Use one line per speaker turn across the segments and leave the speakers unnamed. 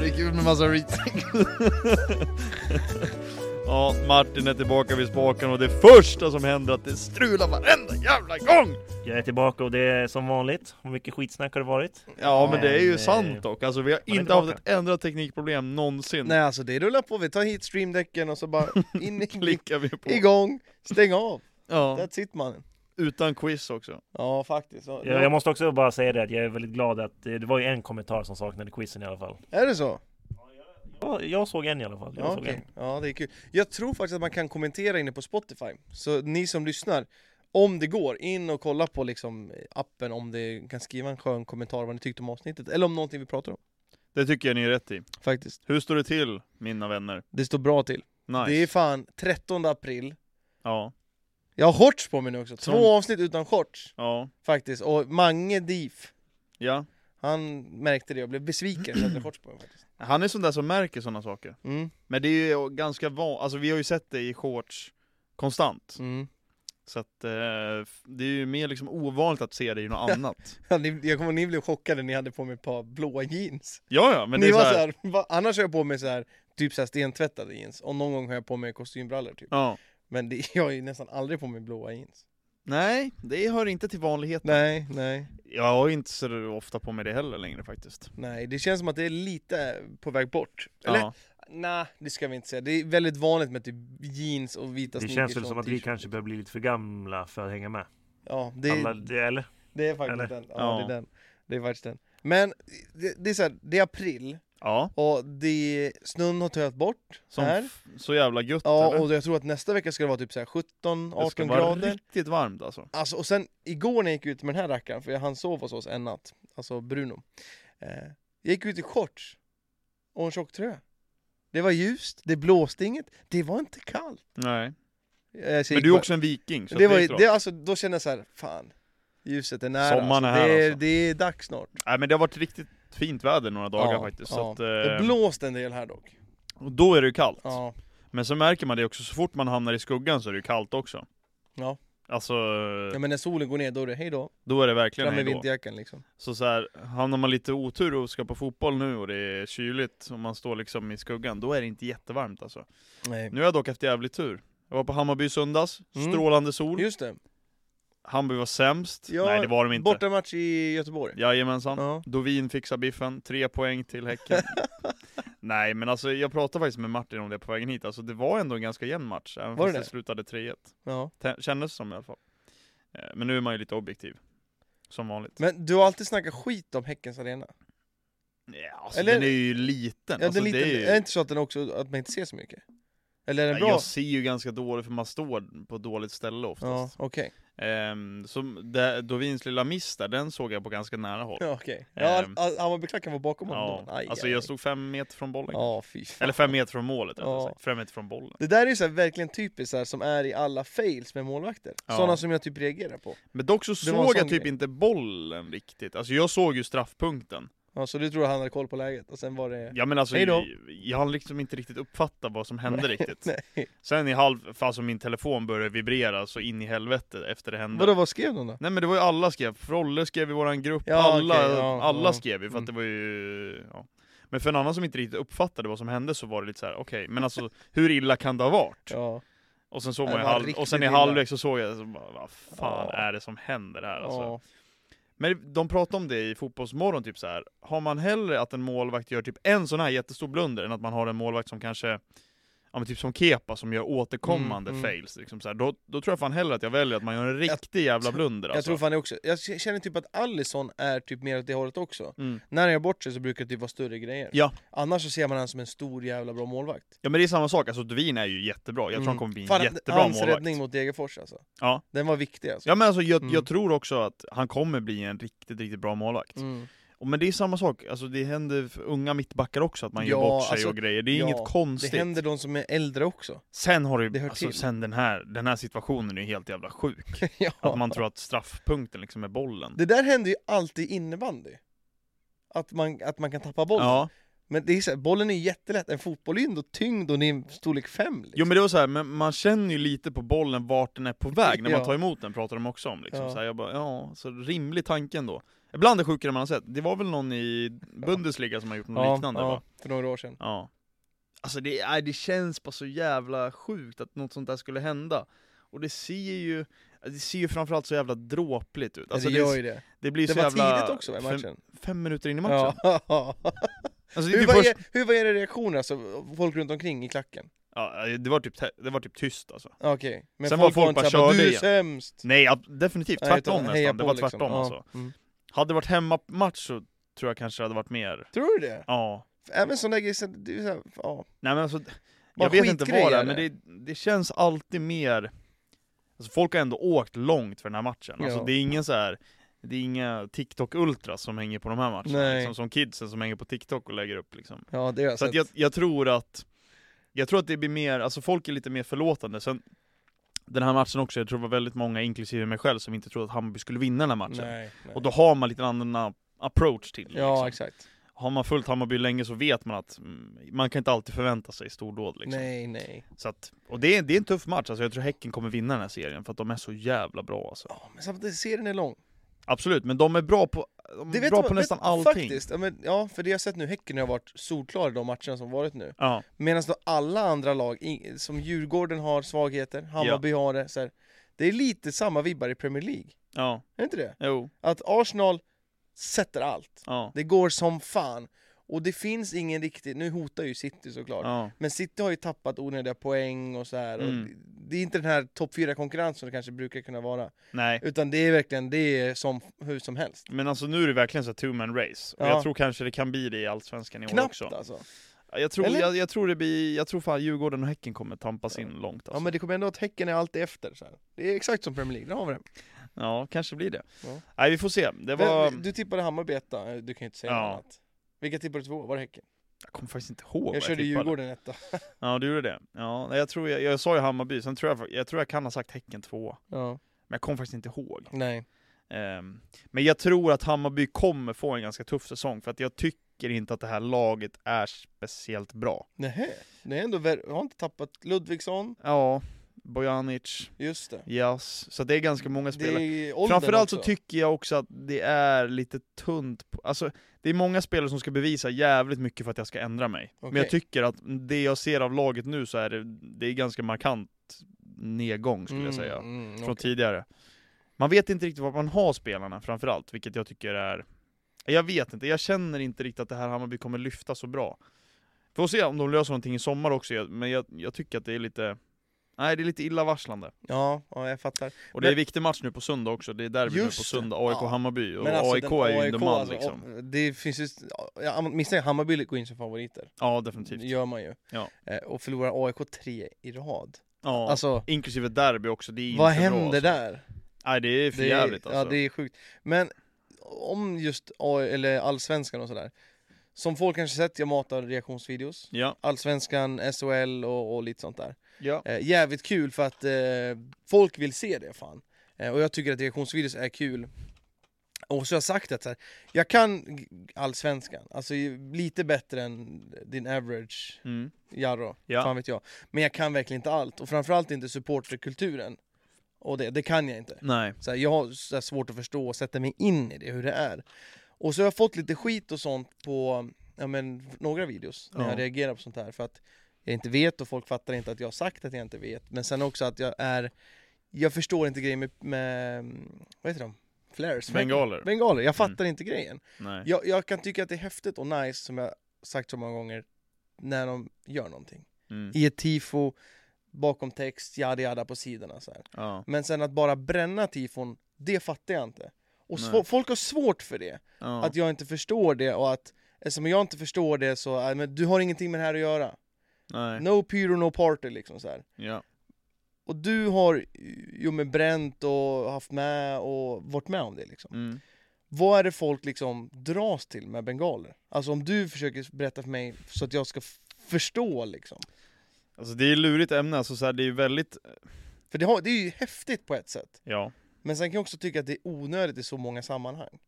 det är kul med massa retakes. ja, Martin är tillbaka vid spaken och det första som händer är att det strular varenda jävla gång!
Jag är tillbaka och det är som vanligt. Hur mycket skitsnack har det varit?
Ja, men
Men,
det är
eh,
ju sant dock. Alltså vi har
man är
inte haft
tillbaka.
ett enda teknikproblem någonsin.
Nej alltså det rullar på, vi tar hit streamdecken och så bara in i,
Klickar vi på.
igång, stäng av.
Ja,
That's it mannen.
utan quiz också.
Ja faktiskt. Ja,
Jag, jag måste också bara säga det att jag är väldigt glad att eh, det var ju en kommentar som saknade quizen i alla fall.
Är det så?
Jag, jag såg en i alla fall. Jag
Ja,
såg
okej.
en.
ja, det är kul. Jag tror faktiskt att man kan kommentera inne på Spotify. Så ni som lyssnar, om det går, in och kolla på liksom appen om det kan skriva en skön kommentar vad ni tyckte om avsnittet. Eller om någonting vi pratar om.
Det tycker jag ni är rätt i.
Faktiskt.
Hur står det till, mina vänner?
Det står bra till.
Nice.
Det är fan 13 april.
Ja,
Jag har shorts på mig nu också. Två
Som-
avsnitt utan shorts
ja,
faktiskt. Och Mange Dief,
ja.
han märkte det och blev besviken så jag hade shorts på mig faktiskt.
Han är sån där som märker såna saker.
Mm,
Men det är ju ganska van... Alltså vi har ju sett det i shorts konstant.
mm.
Så att eh, f- det är ju mer liksom ovanligt att se det i något annat.
Ja, ni- Jag kommer ihåg ni blev chockade när ni hade på mig ett par blåa jeans.
Ja, ja, men det
ni
är
var
så
så
här,
va, annars har jag på mig så här, typ så här stentvättade jeans och någon gång har jag på mig kostymbrallor typ.
Ja.
Men det, jag har ju nästan aldrig på mig blåa jeans.
Nej, det hör inte till vanligheten.
Nej, nej,
Jag har inte så ofta på mig det heller längre faktiskt.
nej. Det känns som att det är lite på väg bort. Eller?
Ja.
Nej, det ska vi inte säga. Det är väldigt vanligt med typ jeans och vita
Det
sneakers.
känns väl
och
som att vi
t-shirt.
kanske börjar bli lite för gamla för att hänga med.
Ja, det,
Alla, det, eller?
det är faktiskt
eller?
den. Ja,
Ja.
Det är den. Det är faktiskt den. Men det, det är så här, det är april
ja.
och det, snön har töat bort
Som
här.
f- så jävla gött
Ja,
eller?
och jag tror att nästa vecka ska det vara typ så här
Det
17,
ska
18
vara
grader.
riktigt varmt alltså.
Alltså, och sen igår när jag gick ut med den här rackaren, för jag han sov hos oss en natt, alltså Bruno. Eh, jag gick ut i shorts och en tjock tröja. Det var ljust, det blåste inget, det var inte kallt.
Nej.
Eh, så jag gick
Men du är
bara-
också en viking. Så
det var, ju-
klart.
det, alltså, Då kände jag så här, fan, ljuset är nära.
Sommaren är
alltså.
här,
det, är,
alltså.
det är dags snart.
Nej men det har varit riktigt fint väder några dagar faktiskt. Så
ja.
att,
Det
eh,
blåste en del här dock.
och då är det ju kallt.
Ja,
Men så märker man det också, så fort man hamnar i skuggan så är det ju kallt också.
Ja.
Alltså,
ja men när solen går ner då är det hej då,
då är det verkligen
fram med
hej då.
vinterjackan liksom.
Så, så här, hamnar man lite otur och ska på fotboll nu och det är kyligt och man står liksom i skuggan, då är det inte jättevarmt alltså.
Nej.
Nu har jag dock haft jävligt tur. Jag var på Hammarby i söndags,
Mm.
strålande sol.
Just det,
Hammarby var sämst.
Ja,
Nej det var de inte.
bortamatch i Göteborg.
Jajamensan.
Ja.
Dovin fixar biffen, tre poäng till Häcken. Nej men alltså jag pratade faktiskt med Martin om det på vägen hit, alltså det var ändå en ganska jämn match, även
Var
fast
det
det
det?
slutade 3-1.
Ja.
Tä- Kändes som i alla fall. Eh, Men nu är man ju lite objektiv. Som vanligt.
Men du har alltid snackat skit om Häckens arena.
Ja, alltså,
Eller-
den är ju liten.
Ja,
alltså,
den är, liten,
det är ju...
är det inte så att den också, att man inte ser så mycket? Eller är den
Ja,
bra?
Jag ser ju ganska dåligt för man står på ett dåligt ställe
Ja,
oftast.
okej.
Ehm, så det, Dovins lilla miss där, den såg jag på ganska nära håll.
Ja, okej. Ja,
Ehm.
all- Hammarbyklacken var bakom
Ja,
honom då. Aj,
alltså
aj,
jag
aj.
stod fem meter från bollen.
Ja, fy fan.
Eller fem meter från målet rättare
Ja.
sagt. Fem meter från bollen.
Det där är ju så här, verkligen typiskt så här, som är i alla fails med målvakter.
Ja.
Sådana som jag typ reagerar på.
Men dock så
var en
såg jag
sån
typ
grej.
inte bollen riktigt. Alltså jag såg ju straffpunkten.
Ja, så du tror att han hade koll på läget och sen var det...
Ja men alltså,
Hej då.
jag, jag har liksom inte riktigt uppfattat vad som hände riktigt.
Nej.
Sen i halv, alltså min telefon började vibrera så in i helvete efter det hände.
Vadå, vad skrev de då?
Nej men det var ju alla skrev, Frolle skrev i våran grupp,
Ja,
alla,
okej, ja,
alla
ja.
skrev ju för att
Mm.
det var ju... Ja. Men för en annan som inte riktigt uppfattade vad som hände så var det lite så här: okej, men alltså hur illa kan det ha varit?
Ja,
Och sen såg
Det
man i
var
halv,
riktigt
och sen i
illa.
halvlek så såg jag, så bara, vad fan
Ja.
är det som händer här alltså?
ja.
Men de pratade om det i Fotbollsmorgon, typ så här. har man hellre att en målvakt gör typ en sån här jättestor blunder än att man har en målvakt som kanske, ja men typ som Kepa som gör återkommande
Mm, mm.
fails liksom så här. Då, då tror jag fan hellre att jag väljer att man gör en riktig jävla blunder
Jag
alltså.
tror fan det också. Jag k- känner typ att Allison är typ mer åt det hållet också.
Mm.
När han gör bort sig så brukar det typ vara större grejer.
Ja.
Annars så ser man han som en stor jävla bra målvakt.
Ja men det är samma sak, alltså Duvin är ju jättebra, jag tror han
Mm.
kommer bli en
Fan,
jättebra
hans
målvakt.
räddning mot Degerfors alltså.
Ja.
Den var viktig alltså.
Ja men alltså jag,
Mm.
jag tror också att han kommer bli en riktigt, riktigt bra målvakt.
Mm.
Och, men det är samma sak, alltså det händer för unga mittbackar också att man gör
Ja,
bort sig
alltså,
och grejer, det är
ja,
inget
Det
konstigt.
händer de som är äldre också.
Sen har du,
det hör
alltså
till.
sen den här, den här situationen är ju helt jävla sjuk.
ja.
Att man tror att straffpunkten liksom är bollen.
Det där händer ju alltid i innebandy. Att man, att man kan tappa bollen.
Ja,
Men det är så här, bollen är ju jättelätt, en fotboll är ju ändå tyngd och det är en storlek 5 liksom.
Jo men det var så här, men man känner ju lite på bollen vart den är på väg när man
Ja.
tar emot den, pratar de också om liksom.
Ja.
så här, jag bara, ja, så rimlig tanken då. Ibland är sjukare man har sett, det var väl någon i Bundesliga som har gjort något liknande
ja,
va?
för några år sedan.
Ja. Alltså det, nej, det känns bara så jävla sjukt att något sånt där skulle hända. Och det ser ju, det ser ju framförallt så jävla dråpligt ut. Alltså
det
det,
gör
det,
ju det.
blir
Det
så
var
jävla...
tidigt också i
fem-
matchen.
Fem minuter in i matchen.
Ja.
Alltså, det, är
hur,
typ
var
först,
er, hur var era reaktioner, alltså folk runt omkring i klacken?
ja, det, var typ, te- det var typ tyst alltså.
Ja, Okej, men
Sen
folk
var
var
folk bara
inte såhär bara,
körde
du är
igen."
sämst!
Nej, ab- definitivt
Nej,
tvärtom
utan heja
nästan. Det
på
var
liksom.
tvärtom
Ja.
alltså.
Mm.
Hade det varit hemmamatch så tror jag kanske det hade varit mer.
Tror du det?
Ja.
Även sån där grej, så- det är så här, ja.
Nej men alltså,
Bara
jag vet inte
skitgrejer,
vad det är, men
eller?
det, det känns alltid mer... Alltså folk har ändå åkt långt för den här matchen. Alltså
Ja.
det är ingen så här. Det är inga TikTok-ultras som hänger på de här matcherna,
Nej.
liksom, som kidsen som hänger på TikTok och lägger upp liksom.
Ja, det har jag
Så
sett.
att jag, jag tror att, jag tror att det blir mer, alltså folk är lite mer förlåtande. Sen, den här matchen också, jag tror det var väldigt många, inklusive mig själv, som inte trodde att Hammarby skulle vinna den här matchen.
nej, nej.
Och då har man lite annan approach till det,
Ja,
liksom.
exakt.
Har man följt Hammarby länge så vet man att mm, man kan inte alltid förvänta sig stordåd liksom.
Nej, nej.
Så att, och det är, det är en tuff match, alltså jag tror Häcken kommer vinna den här serien för att de är så jävla bra alltså.
Ja, men samtidigt, serien är lång.
Absolut, men de är bra på, de
Det
är Mm,
vet
bra
du
på
vad-
nästan
vet,
allting.
Faktiskt, ja, men, ja, för det jag har sett nu, Häcken har varit solklara i de matcherna som varit nu.
Ja,
Medan då alla andra lag, i- som Djurgården har svagheter, Hammarby har det, så här, Det är lite samma vibbar i Premier League,
ja,
är det inte det?
jo,
Att Arsenal sätter allt,
ja,
det går som fan. Och det finns ingen riktig, nu hotar ju City såklart,
ja,
men City har ju tappat onödiga poäng och så här. Och
Mm.
det- det är inte den här topp 4-konkurrensen som det kanske brukar kunna vara.
nej.
Utan det är verkligen, det är som hur som helst.
Men alltså nu är det verkligen så two man race, och
Ja.
jag tror kanske det kan bli det i Allsvenskan i år
Knappt
också.
alltså.
Ja, Jag tror,
Eller?
jag, jag tror det blir, jag tror fan Djurgården och Häcken kommer tampas in långt alltså.
Ja men det kommer ändå att Häcken är alltid efter. Så här. Det är exakt som Premier League, där har vi det.
Ja, kanske blir det.
Ja.
Nej, vi får se. Det var...
Vem- Du tippade Hammarby etta, Eh, du kan ju inte säga
Ja.
något annat. Vilka tippade två? Var det Häcken?
Jag kommer faktiskt inte ihåg vad
jag körde
tippade.
Djurgården etta.
Ja, du gjorde det. Ja, nej, jag, tror jag, jag sa ju Hammarby, sen tror jag, jag tror jag kan ha sagt Häcken 2.
Ja.
Men jag kommer faktiskt inte ihåg.
Nej.
Ehm, men jag tror att Hammarby kommer få en ganska tuff säsong, för att jag tycker inte att det här laget är speciellt bra.
Nähä. Det är ändå värre. Jag har inte tappat Ludvigsson.
Ja, Bojanic,
Just det.
Jas, så det är ganska många
Det
spelare.
är åldern
Framförallt så
också.
tycker jag också att det är lite tunt, på, alltså det är många spelare som ska bevisa jävligt mycket för att jag ska ändra mig. Men
Okej.
jag tycker att det jag ser av laget nu så är det, det är ganska markant nedgång skulle jag
Mm,
säga.
mm,
från
okej.
tidigare. Man vet inte riktigt var man har spelarna framförallt, vilket jag tycker är... Jag vet inte, jag känner inte riktigt att det här Hammarby kommer lyfta så bra. Får se om de löser någonting i sommar också, jag- men jag, jag tycker att det är lite... Nej, det är lite illavarslande.
Ja, ja, jag fattar.
Och det är
Men-
en viktig match nu på söndag också, det är derby nu på
Just det, alltså,
söndag, AIK-Hammarby, och AIK
den
är ju in the man
alltså,
liksom.
och Det finns ju... Jag misstänker att Hammarby går in som favoriter.
Ja, definitivt.
Det gör man ju.
Ja.
Eh, Och förlorar AIK tre i rad.
Ja.
Alltså,
Inklusive derby också, det är inte
vad
bra,
händer
alltså.
där?
Nej, det är för
Det är-
jävligt alltså.
Ja, det är sjukt. Men om just A- eller allsvenskan och sådär. Som folk kanske sett, jag matar reaktionsvideos.
ja.
Allsvenskan, SHL och, och lite sånt där.
ja.
Eh, jävligt kul för att eh, folk vill se det fan. Eh, och jag tycker att reaktionsvideos är kul. Och så har jag sagt att så här, jag kan g- allsvenskan, alltså ju- lite bättre än din average
Mm.
Jarro,
Ja.
fan vet jag. Men jag kan verkligen inte allt, och framförallt inte supporterkulturen. Och det, det kan jag inte.
Nej.
Så här, jag har så här svårt att förstå och sätta mig in i det, hur det är. Och så har jag fått lite skit och sånt på ja, men, några videos när
Ja.
jag reagerar på sånt här för att jag inte vet och folk fattar inte att jag har sagt att jag inte vet. Men sen också att jag är, jag förstår inte grejen med, med vad heter de? Flares?
Bengaler. Mm.
Bengaler, jag fattar inte grejen.
Nej.
Jag, jag kan tycka att det är häftigt och nice som jag sagt så många gånger när de gör någonting.
Mm.
I ett tifo, bakom text, yada yada på sidorna så här.
Ja.
Men sen att bara bränna tifon, det fattar jag inte. Och
Nej.
svå- folk har svårt för det,
Ja.
att jag inte förstår det och att eftersom jag inte förstår det så, äh, men du har ingenting med det här att göra.
Nej.
No pyro, no party liksom så här.
Ja.
Och du har ju med bränt och haft med och varit med om det liksom.
Mm.
Vad är det folk liksom dras till med bengaler? Alltså om du försöker berätta för mig så att jag ska f- förstå liksom.
Alltså det är ett lurigt ämne, alltså så här, det är ju väldigt,
För det, har, det är ju häftigt på ett sätt.
ja,
Men sen kan jag också tycka att det är onödigt i så många sammanhang.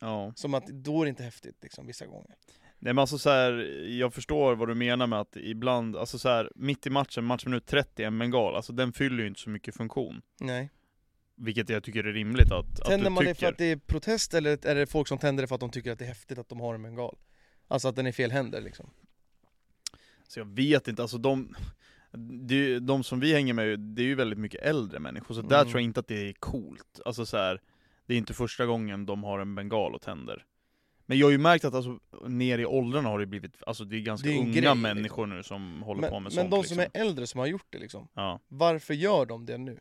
ja.
Som att då är det inte häftigt liksom vissa gånger.
Nej men alltså så här, jag förstår vad du menar med att ibland, alltså så här, mitt i matchen, matchminut 30, en bengal, alltså den fyller ju inte så mycket funktion.
Nej.
Vilket jag tycker är rimligt att, att
Tänder
du
man det för
tycker.
att det är protest eller är det folk som tänder det för att de tycker att det är häftigt att de har en bengal? Alltså att den är i fel händer liksom.
Så jag vet inte, alltså de, det är ju- de som vi hänger med, det är ju väldigt mycket äldre människor, så där
Mm.
tror jag inte att det är coolt. Alltså så här, det är inte första gången de har en bengal och tänder. Men jag har ju märkt att alltså, ner i åldrarna har det blivit, alltså det är ganska
Det är ju en
unga
grej, liksom.
människor nu som håller på
Men,
med
men
sånt
de
liksom.
som är äldre som har gjort det liksom,
Ja.
varför gör de det nu?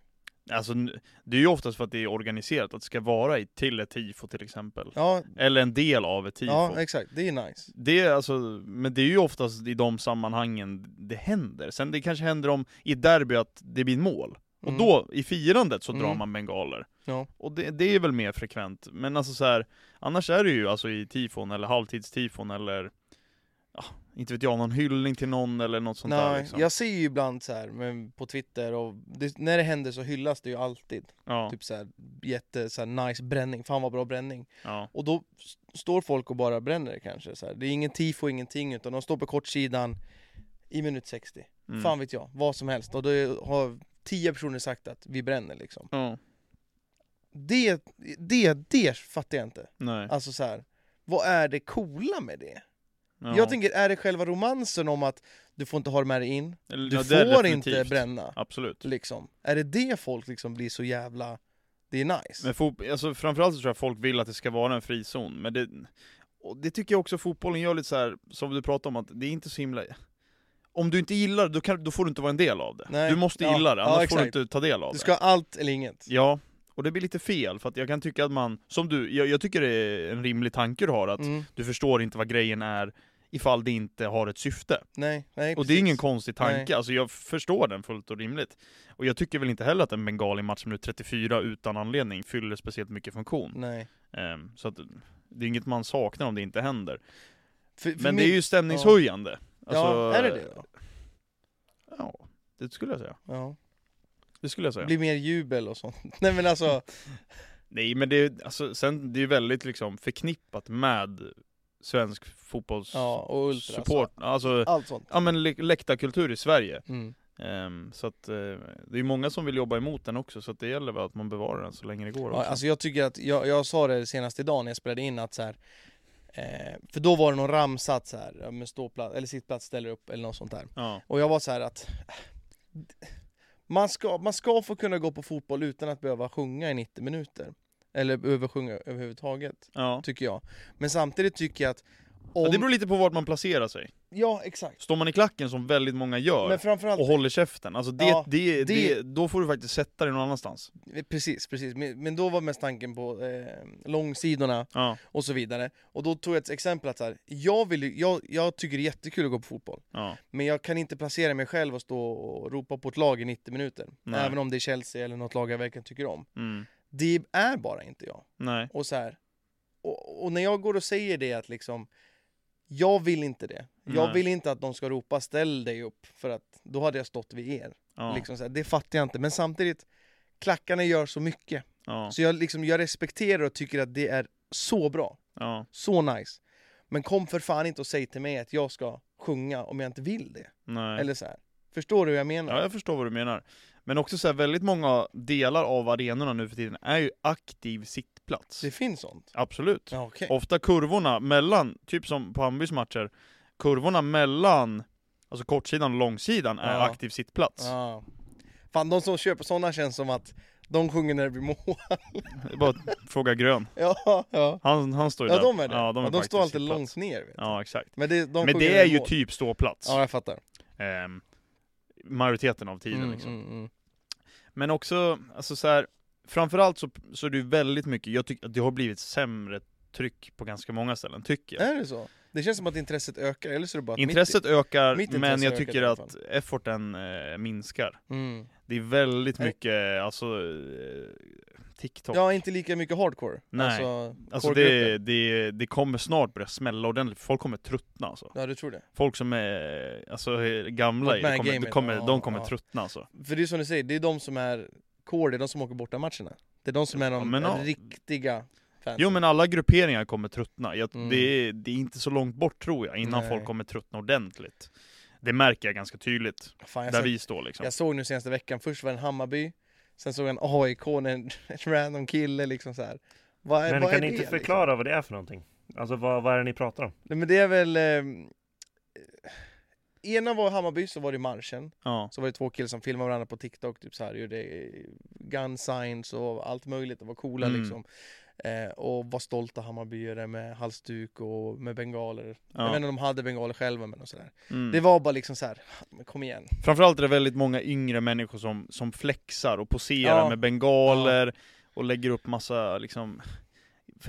Alltså, n- det är ju oftast för att det är organiserat, att det ska vara i, till ett tifo till exempel.
Ja,
Eller en del av ett tifo.
ja exakt, det är nice.
det är alltså, men det är ju oftast i de sammanhangen det händer. Sen det kanske händer om i ett derby att det blir mål. Och
Mm.
då, i firandet, så drar
Mm.
man bengaler.
Ja.
Och det, det är väl mer frekvent. Men alltså så här, annars är det ju alltså i tifon eller halvtidstifon eller ja, inte vet jag, någon hyllning till någon eller något sånt där
Nej,
liksom.
jag ser ju ibland så här men på Twitter och det, när det händer så hyllas det ju alltid.
Ja,
Typ så här jätte så här, nice bränning, fan vad bra bränning.
ja,
Och då s- står folk och bara bränner det kanske. Så här. Det är ingen tifo, ingenting, utan de står på kortsidan i minut 60.
mm.
Fan vet jag, vad som helst. Och då är- har tio personer sagt att vi bränner liksom.
Ja,
Det, det, det fattar jag inte.
nej.
Alltså så här, vad är det coola med det?
Ja.
Jag tänker, är det själva romansen om att du får inte ha det med dig in,
Eller,
du
ja, det är
får inte
definitivt.
bränna,
Absolut.
liksom. Är det det folk liksom blir så jävla, det är nice?
Men fot- alltså, framförallt så tror jag folk vill att det ska vara en frizon, men det, och det tycker jag också fotbollen gör lite så här, som du pratade om, att det är inte så himla... Om du inte gillar det, då, kan, då får du inte vara en del av det.
Nej.
Du måste
Ja.
gilla det,
Ja,
annars får du
exakt.
inte ta del av
Du
det.
ska ha allt eller inget.
Ja, och det blir lite fel, för att jag kan tycka att man, som du, jag, jag tycker det är en rimlig tanke du har, att
Mm,
du förstår inte vad grejen är ifall det inte har ett syfte.
nej, nej,
Och det är
precis.
ingen konstig tanke,
Nej.
alltså jag förstår den fullt och rimligt. Och jag tycker väl inte heller att en bengal i matchminut 34 utan anledning fyller speciellt mycket funktion.
Nej.
Ehm, Så att det är inget man saknar om det inte händer.
För, för
Men det
min-
är ju stämningshöjande. Alltså,
ja, är det det då?
Ja, det skulle jag säga.
Ja.
Det skulle jag säga.
Blir mer jubel och sånt. Nej men alltså,
Nej men det är, alltså, sen, det är ju väldigt liksom förknippat med svensk fotbolls
ja, och ultra.
support. Alltså,
Så, allt sånt.
ja men lä- läktarkultur i Sverige.
Mm.
Ehm, så att eh, det är ju många som vill jobba emot den också, så att det gäller väl att man bevarar den så länge det går.
Ja,
också.
alltså jag tycker att, jag, jag sa det senast idag när jag spelade in att så här, eh, för då var det någon ramsa att så här, ja, men ståplats, eller sittplats ställer upp eller något sånt där.
ja.
Och jag var så här att eh, man ska, man ska få kunna gå på fotboll utan att behöva sjunga i 90 minuter. Eller behöva sjunga överhuvudtaget,
Ja.
tycker jag. Men samtidigt tycker jag att om...
Ja, det beror lite på vart man placerar sig.
ja exakt.
Står man i klacken som väldigt många gör,
Men framförallt
och håller käften. Alltså det,
Ja,
det, det,
det-
då får du faktiskt sätta dig någon annanstans.
Eh, Precis, precis. Men, men då var mest tanken på eh, långsidorna
Ja,
och så vidare. Och då tog jag ett exempel att så här, jag, vill, ju- jag, jag tycker det är jättekul att gå på fotboll.
ja,
Men jag kan inte placera mig själv och stå och ropa på ett lag i 90 minuter.
Nej.
Även om det är Chelsea eller något lag jag verkligen tycker om.
mm,
Det är bara inte jag.
nej,
Och så här, och, och när jag går och säger det att liksom, jag vill inte det. Jag
Nej.
vill inte att de ska ropa ställ dig upp för att då hade jag stått vid er.
ja,
Liksom så här, det fattar jag inte. Men samtidigt, klackarna gör så mycket.
ja,
Så jag, liksom, jag respekterar och tycker att det är så bra,
ja,
så nice. Men kom för fan inte och säg till mig att jag ska sjunga om jag inte vill det.
nej.
Eller så här. Förstår du hur jag menar?
Ja, jag förstår vad du menar. Men också så här, väldigt många delar av arenorna nu för tiden är ju aktiv sittplats.
Det finns sånt.
Absolut.
Ja, okej.
Ofta kurvorna mellan, typ som på Hammarbys matcher, kurvorna mellan Alltså kortsidan och långsidan är
Ja.
aktiv sittplats.
Ja. Fan, de som köper såna känns som att de sjunger när det blir mål.
Det är bara att fråga Grön.
ja, ja.
Han, han står ju
ja,
där.
de är det.
Ja, de, är på
de står
aktiv
alltid
sittplats.
långt ner. Vet. du.
Ja, exakt.
Men det, de
Men
sjunger
det
när
är ju
mål.
typ ståplats.
Ja, jag fattar.
Ehm, majoriteten av tiden liksom.
mm, mm.
Men också, alltså så här, framförallt så, så är det ju väldigt mycket, jag tycker att det har blivit sämre tryck på ganska många ställen, tycker jag.
Är det så? Det känns som att intresset ökar, eller så är det bara att Äh, mitt i-
Intresset ökar,
mitt intresse
men jag
ökar
tycker
i alla
att efforten eh, minskar.
Mm.
Det är väldigt
Nej.
mycket, alltså, eh, TikTok.
Ja, inte lika mycket hardcore.
Nej.
Alltså,
alltså det,
core-gruppen.
det, det kommer snart börja smälla ordentligt, folk kommer tröttna alltså.
Ja, du tror det.
Folk som är, alltså, är gamla, i
med
det
i
kommer, det
gamet,
kommer,
ja,
de kommer
ja.
tröttna alltså.
För det är som du säger, det är de som är core, det är de som åker borta matcherna. Det är de som är
Ja,
de
men ja.
riktiga fansen.
Jo men alla grupperingar kommer tröttna. Jag,
Mm.
det, är, det är inte så långt bort tror jag, innan
Nej.
folk kommer tröttna ordentligt. Det märker jag ganska tydligt,
Fan, jag,
där
såg,
vi står liksom.
jag såg nu senaste veckan, först var det en Hammarby, sen såg jag en AIK, när en en random kille liksom så här. Vad är,
Men
vad
kan
är
ni
det?
inte
liksom?
förklara vad det är för någonting? Alltså vad, vad är det ni pratar om?
Nej, men det är väl... ehm, Eh, ena var Hammarby, så var det marschen.
Ja.
Så var det två killar som filmade varandra på TikTok, typ så här, gjorde eh, gun signs och allt möjligt och var coola
Mm.
liksom. Eh, och var stolta Hammarbyare med halsduk och med bengaler. Jag
Ja.
vet inte om de hade bengaler själva men och sådär.
Mm.
Det var bara liksom så här, men kom igen.
Framförallt är det väldigt många yngre människor som, som flexar och poserar
Ja.
med bengaler och lägger upp massa liksom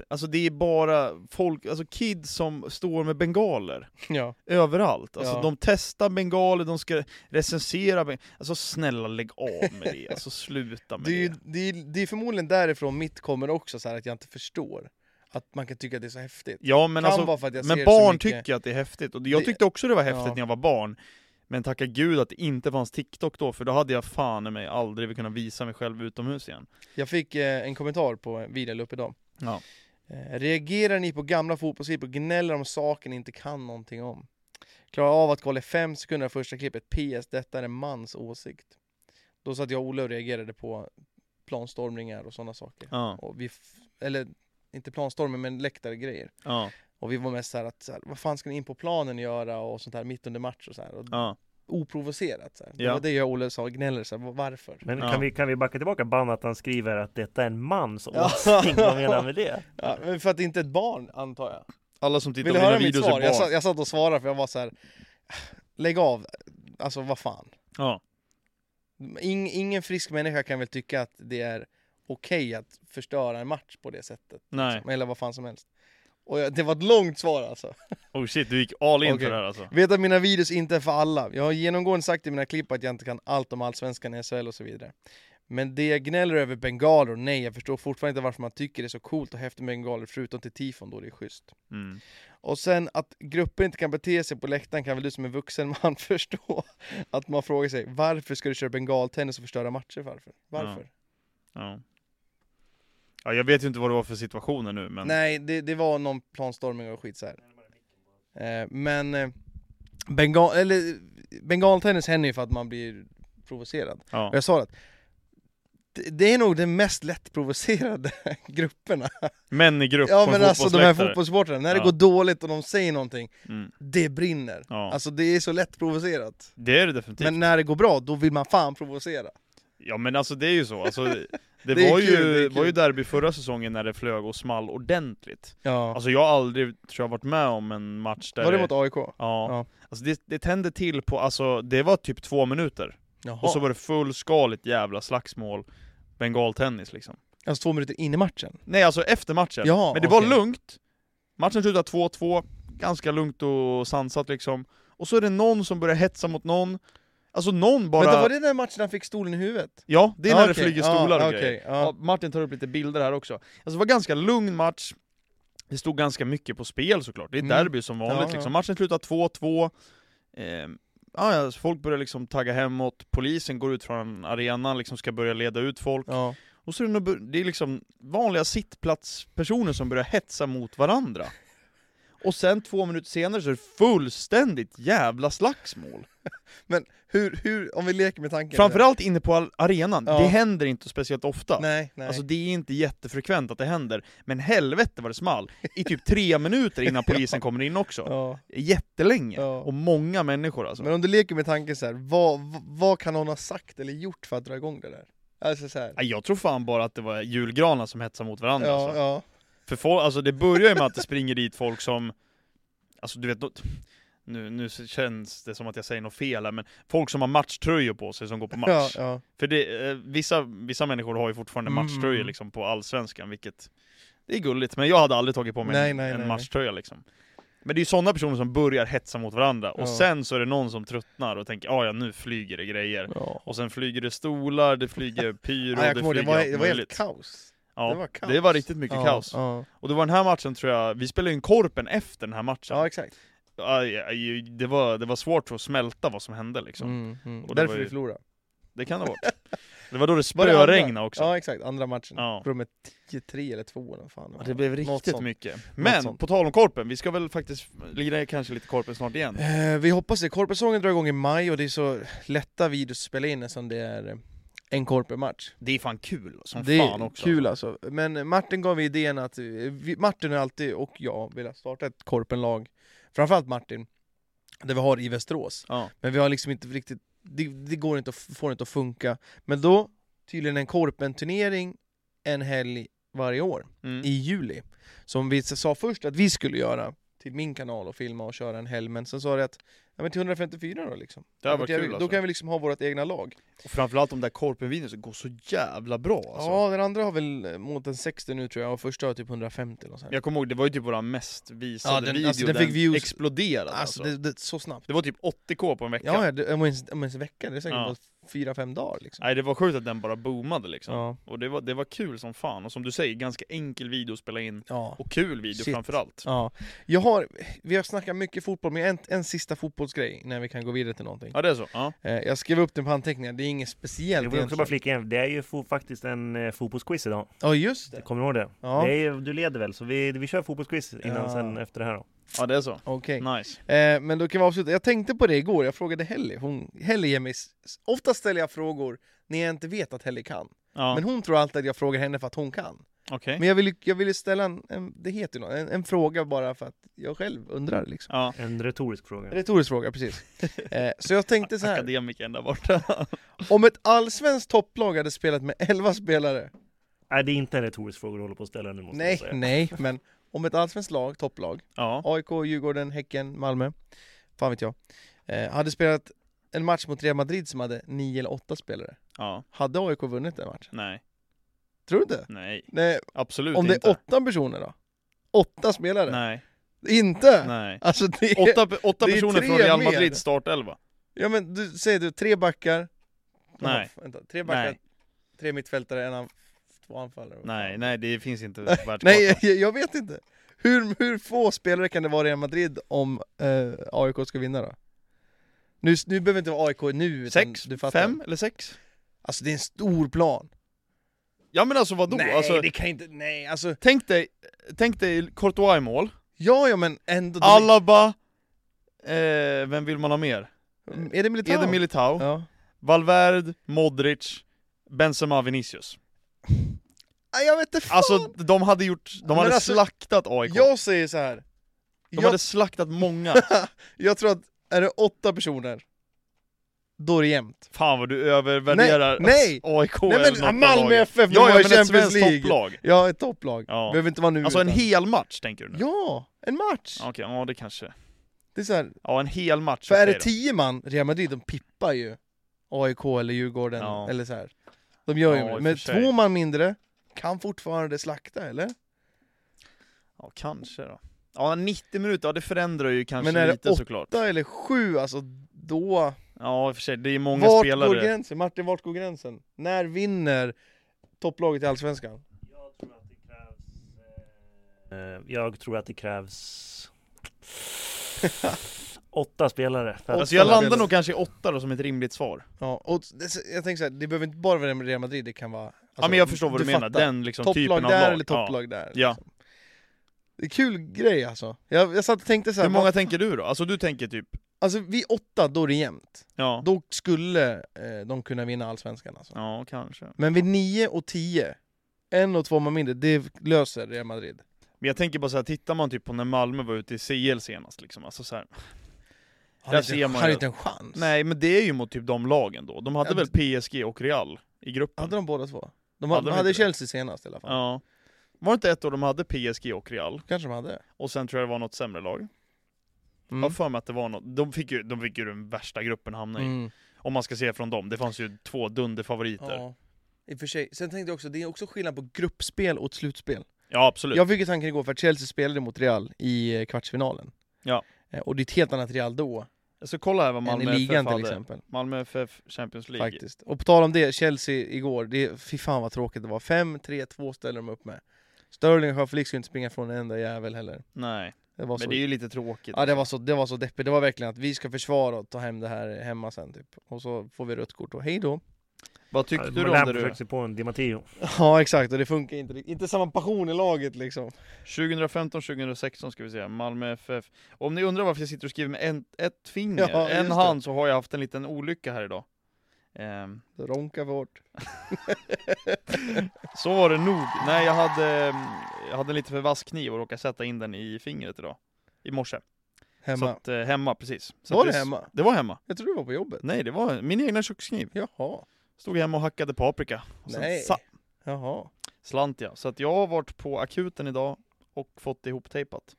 Alltså det är bara folk, alltså kids som står med bengaler
Ja,
överallt. Alltså
Ja.
de testar bengaler, de ska recensera bengaler. Alltså snälla lägg av med det, alltså sluta med
det är, ju,
det.
det, är, det är förmodligen därifrån mitt kommer också så här att jag inte förstår. Att man kan tycka att det är så häftigt.
Ja men
kan
alltså,
vara för att jag ser
men
så
barn
mycket-
tycker att det är häftigt, och jag
Det-
tyckte också det var häftigt
Ja.
när jag var barn Men tacka gud att det inte fanns TikTok då, för då hade jag fan i mig aldrig kunnat visa mig själv utomhus igen
Jag fick eh, en kommentar på en video jag la upp idag.
Ja,
Eh, reagerar ni på gamla fotbollsklipp och gnäller om saker ni inte kan någonting om? Klarar av att kolla i fem sekunder av första klippet. PS. Detta är en mans åsikt. Då satt jag och Ola och reagerade på planstormningar och sådana saker.
ja,
Och vi, f- eller inte planstormning men läktargrejer.
ja,
Och vi var mest så här att så här, vad fan ska ni in på planen göra och sånt här mitt under match och så här. Och
ja
oprovocerat. Så här. Det
Ja.
var det jag och Olle sa, gnäller så här, "Va- varför?
Men
Ja.
kan, vi, kan vi backa tillbaka bandet att han skriver att detta är en mans
Ja.
åsikt? Vad menar han med det?
Ja, men för att det inte är ett barn antar jag.
Alla som tittar
Vill
på
du
mina
höra mitt
videos är
svar?
barn
Jag, sa, jag satt och svarade för jag var så här. lägg av, alltså vad fan.
Ja,
Ing, ingen frisk människa kan väl tycka att det är okej att förstöra en match på det sättet.
nej,
Eller vad fan som helst. Och jag, det var ett långt svar alltså.
oh shit du gick all in
Okej.
för det här alltså
Vet att mina videos inte är för alla. Jag har genomgående sagt i mina klipp att jag inte kan allt om allsvenskan i SHL och så vidare. Men det jag gnäller över bengaler, nej jag förstår fortfarande inte varför man tycker det är så coolt att häfta med bengaler förutom till tifon då det är schysst.
mm.
Och sen att grupper inte kan bete sig på läktaren kan väl du som en vuxen man förstå? Att man frågar sig varför ska du köra bengaltennis och förstöra matcher varför? Varför?
ja. ja, jag vet ju inte vad det var för situationer nu men
Nej, det, det var någon planstormning och skit så här. Eh, men eh, bengal, eller, bengaltennis händer ju för att man blir provocerad.
ja.
Och jag sa att det, det är nog den mest lättprovocerade grupperna.
Män i grupp
Ja
på en
men alltså de här
fotbollsläktare.
fotbollssupportrarna, när det
Ja.
går dåligt och de säger någonting,
mm.
det brinner.
Ja. Typ.
Alltså det är så lättprovocerat.
Det är det definitivt
Men när det går bra, då vill man fan provocera.
Ja men alltså det är ju så, alltså, det,
Det är
var,
kul, det
ju,
är
var ju
kul.
derby förra säsongen när det flög och small ordentligt
Ja.
Alltså jag har aldrig, tror jag, varit med om en match där
var det
det-
mot AIK?
Ja,
Ja.
Alltså det, det tände till på, alltså det var typ två minuter
Jaha.
Och så var det fullskaligt jävla slagsmål Bengaltennis liksom
Alltså två minuter in i matchen?
Nej alltså efter matchen,
Ja,
men det var
okej.
lugnt Matchen slutade 2-2, ganska lugnt och sansat liksom Och så är det någon som börjar hetsa mot någon Alltså någon bara...
Vänta, var det den matchen han fick stolen i huvudet?
Ja, det är när
Ja,
det
okej.
flyger stolar
ja,
och grejer
okej, Ah.
Ja,
ja.
Martin tar upp lite bilder här också. Alltså det var en ganska lugn match. Det stod ganska mycket på spel såklart. Det är ett
Mm.
derby som vanligt
Ja, ja.
liksom. Matchen slutade 2-2. Ehm, ja, ja, så folk börjar liksom tagga hemåt. Polisen går ut från arenan, liksom ska börja leda ut folk.
Ja.
Och så är det, nog bu- det är liksom vanliga sittplatspersoner som börjar hetsa mot varandra. Och sen två minuter senare så är det fullständigt jävla slagsmål.
Men hur, hur, om vi leker med tanken.
Framförallt inne på al- arenan.
Ja.
Det händer inte speciellt ofta.
Nej, nej.
Alltså det är inte jättefrekvent att det händer, men helvete vad det small! I typ tre minuter innan polisen kommer in också.
ja.
Jättelänge!
Ja.
Och många människor alltså.
Men om du leker med tanken så här, vad, vad- vad kan någon ha sagt eller gjort för att dra igång det där? Alltså så här.
Nej, Jag tror fan bara att det var julgranar som hetsade mot varandra
Ja,
alltså.
ja.
För folk, alltså det börjar ju med att det springer dit folk som, alltså du vet, nå- nu, nu känns det som att jag säger något fel här, men folk som har matchtröjor på sig som går på match.
ja, ja.
För det, eh, vissa, vissa människor har ju fortfarande
Mm.
matchtröjor liksom på allsvenskan, vilket Det är gulligt, men jag hade aldrig tagit på mig
Nej,
en,
nej,
en
nej.
matchtröja liksom Men det är ju sådana personer som börjar hetsa mot varandra, och
Ja.
sen så är det någon som tröttnar och tänker "Ah, ja nu flyger det grejer
ja.
Och sen flyger det stolar, det flyger pyro,
ja jag
det
kommer
flyger
ihåg, det var,
allt
det var helt
möjligt.
kaos.
ja,
det var kaos.
det var riktigt mycket
ja,
kaos
Ja.
Och det var den här matchen tror jag, vi spelade in Korpen efter den här matchen
ja, exakt.
Aj, aj, det, var, det var svårt att smälta vad som hände liksom
Mm, mm.
Och det
Därför
var ju-
vi förlorade.
Det kan det ha varit Det var då det
Var det andra?
spöregnade också.
Ja exakt, andra matchen.
Ja.
Rummet 10-3 eller 2 eller vad fan
Ja, Det blev riktigt
sånt.
mycket.
Något
Men
sånt.
på tal om Korpen, vi ska väl faktiskt lira kanske lite Korpen snart igen.
Eh, vi hoppas det. Korpesäsongen drar igång i maj och det är så lätta videos att spela in som det är eh, en korpematch.
Det är fan kul som
det
fan
är
också.
kul alltså. Men Martin gav idén att, eh, vi, Martin har alltid, och jag, velat starta ett korpenlag. Framförallt Martin, där vi har i Västerås.
Ja.
Men vi har liksom inte riktigt, det, det går inte att, f- får inte att funka. Men då, tydligen en korpen-turnering en helg varje år
Mm.
i juli. Som vi sa först att vi skulle göra till min kanal och filma och köra en helg, men sen sa det att ja, men till 154 då liksom.
Det hade
Då
varit
kan vi-
kul
Då
alltså.
kan vi liksom ha vårt egna lag.
Och framförallt de där korpen går så jävla bra alltså.
Ja, den andra har väl eh, mot en 60 nu tror jag, och första har typ 150 eller något sånt.
Jag kommer ihåg, det var ju typ våra mest visade
Ja, den-
video,
alltså, den fick views-
exploderade alltså.
Alltså det, det, så snabbt.
Det var typ 80k på en vecka.
Ja, ja det, om, ens, om ens en vecka, det är säkert
Ja.
bara fyra, fem dagar liksom.
Nej det var sjukt att den bara boomade liksom.
Ja.
Och det var, det var kul som fan, och som du säger, ganska enkel video att spela in.
ja.
Och kul video
Shit.
framförallt.
Ja. Jag har, vi har snackat mycket fotboll, men jag har en, en sista fotbollsgrej när vi kan gå vidare till någonting.
Ja det är så. Ja.
Eh, jag skrev upp den på anteckningar, det är inget speciellt
Jag vill också bara
egentligen.
flika in, det är ju fo- faktiskt en eh, fotbollsquiz idag.
Ja, just det.
Kommer du ihåg det?
Ja.
det är, ju- du leder väl? Så vi, vi kör fotbollsquiz innan
Ja.
sen efter det här då.
ja det är så.
Okej.
Nice.
Eh, men då kan vi avsluta. Jag tänkte på det igår, jag frågade Helly. Hon, Helly ger mig... s- Ofta ställer jag frågor när jag inte vet att Helly kan.
Ja,
Men hon tror alltid att jag frågar henne för att hon kan.
okej.
Men jag ville jag vill ställa en, en, det heter ju något, en, en fråga bara för att jag själv undrar liksom.
Ja,
En retorisk fråga.
Retorisk fråga, precis. Eh, så jag tänkte så här.
akademikern där borta.
om ett allsvenskt topplag hade spelat med 11 spelare.
Nej, det är inte en retorisk fråga du håller på att ställa nu måste jag
Nej,
säga.
nej, men om ett allsvenskt lag, topplag,
ja.
AIK, Djurgården, Häcken, Malmö, fan vet jag, eh, hade spelat en match mot Real Madrid som hade nio eller åtta spelare.
Ja.
Hade AIK vunnit den matchen?
Nej.
Tror du inte?
Nej.
Nej,
Absolut
om det
inte.
är åtta personer då? Åtta spelare?
Nej.
Inte?
Nej.
Alltså det är...
Åtta, pe- åtta
det är
personer
tre
från Real
mer.
Madrid startelva.
Ja men du, säger du tre backar?
Nej.
Jaha, vänta, tre backar,
Nej.
tre mittfältare, en anf- två anfallare.
Nej, nej det finns inte på världskartan.
Nej, eh, jag, jag vet inte. Hur, hur få spelare kan det vara i Real Madrid om eh, AIK ska vinna då? Nu, nu behöver det inte vara AIK nu, utan
Sex?
du fattar.
Fem eller sex?
Alltså det är en stor plan.
Ja men alltså vadå?
nej,
alltså,
det kan inte, nej alltså.
tänk, dig, tänk dig Courtois i mål,
Ja, ja men ändå. de är-
Alaba, eh, vem vill man ha mer?
Är det Militao?
Eder Militao,
Ja.
Valverde, Modric, Benzema, Vinicius.
Nej, jag vet inte fan.
Alltså de hade gjort, de
Men
hade
alltså,
slaktat AIK.
jag säger så här.
de
Jag,
hade slaktat många.
jag tror att, är det åtta personer, då är det jämnt.
Fan vad du övervärderar
Nej,
AIK
Nej,
eller något av
men Malmö
lagen.
FF, de
Ja,
var
ja
i
men ett
Champions
svenskt
League.
topplag.
Ja, ett topplag.
Ja.
Behöver inte vara nu
Alltså en
utan.
hel match tänker du nu?
Ja, en match!
Okej, ja det kanske.
Det är så här,
Ja en hel match.
För är
okej
det
då.
tio man, Real Madrid, de pippar ju AIK eller Djurgården
Ja.
eller så här. De gör ju
Ja, i och
det.
för
Men
sig.
två man mindre kan fortfarande slakta, eller?
Ja, kanske då. Ja, 90 minuter, ja, det förändrar ju kanske
Men är det
lite
åtta?
såklart.
Åtta eller sju, alltså då...
Ja, i och för sig, det är många
Vart går
spelare.
gränsen? Martin, vart går gränsen? När vinner topplaget i Allsvenskan?
Jag tror att det krävs... Eh, jag tror att det krävs... åtta spelare. För att-
Alltså jag
Åtta
landar
spelare.
nog kanske i åtta då som ett rimligt svar.
Ja, och det, jag tänker så här, det behöver inte bara vara Real Madrid, det kan vara... Alltså,
ja men jag förstår vad du, menar,
fattar.
den liksom typen av
topplag
lag.
där eller
Ja.
topplag där.
Ja.
liksom. Det är kul grej alltså. Jag, jag satt och tänkte så här,
Hur många tänker du då? Alltså du tänker typ,
alltså vi åtta, då är det jämnt.
ja,
Då skulle eh, de kunna vinna Allsvenskan alltså.
ja kanske.
Men vid nio och tio, en och två man mindre, det löser Real Madrid.
Men jag tänker bara så här, tittar man typ på när Malmö var ute i CL senast liksom, alltså så här.
Har
Där
inte,
ser man
har
ju.
inte en chans.
Nej men det är ju mot typ de lagen då, de hade
Ja,
väl PSG och Real i gruppen?
Hade de båda två? De,
Hade
hade,
de
de
inte
hade
det?
Chelsea senast i alla fall.
Ja. Var det inte ett år de hade PSG och Real?
Kanske de hade.
Och sen tror jag det var något sämre lag.
Mm.
Jag har för mig att det var något, de fick ju, de fick ju den värsta gruppen att hamna i.
Mm.
Om man ska se från dem, det fanns ju två dunderfavoriter. Ja,
Ja. I och för sig. Sen tänkte jag också, det är också skillnad på gruppspel och ett slutspel.
absolut.
Jag fick ju tanken igår för att Chelsea spelade mot Real i eh, kvartsfinalen.
Ja.
Eh, Och det är ett helt annat Real då,
Jag ska kolla här vad Malmö
än i ligan
FF
till
hade.
exempel.
Malmö FF Champions League.
Faktiskt. Och på tal om det, Chelsea igår, det, fy fan vad tråkigt det var. 5-3-2 ställde de upp med. Sterling och Sjöfelix skulle inte springa från en enda jävel heller.
Nej,
Det var
men
så,
det är ju lite tråkigt.
ja, det var så, det var så deppigt. Det var verkligen att vi ska försvara och ta hem det här hemma sen typ. Och så får vi rött kort och hej då.
Vad tyckte du om
Malin
det du?
försökte sig på en Di Matteo.
Ja exakt, och det funkar inte riktigt. Inte samma passion i laget liksom.
2015-2016 ska vi säga, Malmö FF. Om ni undrar varför jag sitter och skriver med en, ett finger,
Ja,
en
just
hand, så har jag haft en liten olycka här idag. Ehm,
Det ronkar för hårt.
så var det nog. Nej, jag hade, ehm, jag hade en lite för vass kniv och råkade sätta in den i fingret idag. I morse. Så
Hemma.
att, eh, hemma, precis. Så Mm.
Var
att
det hemma?
Det var hemma.
Jag tror du var på jobbet.
Nej, det var min egna kökskniv.
Jaha.
Stod hemma och hackade paprika. Och sen
Nej.
sa-
Jaha.
slant jag. Så att jag har varit på akuten idag och fått det ihoptejpat.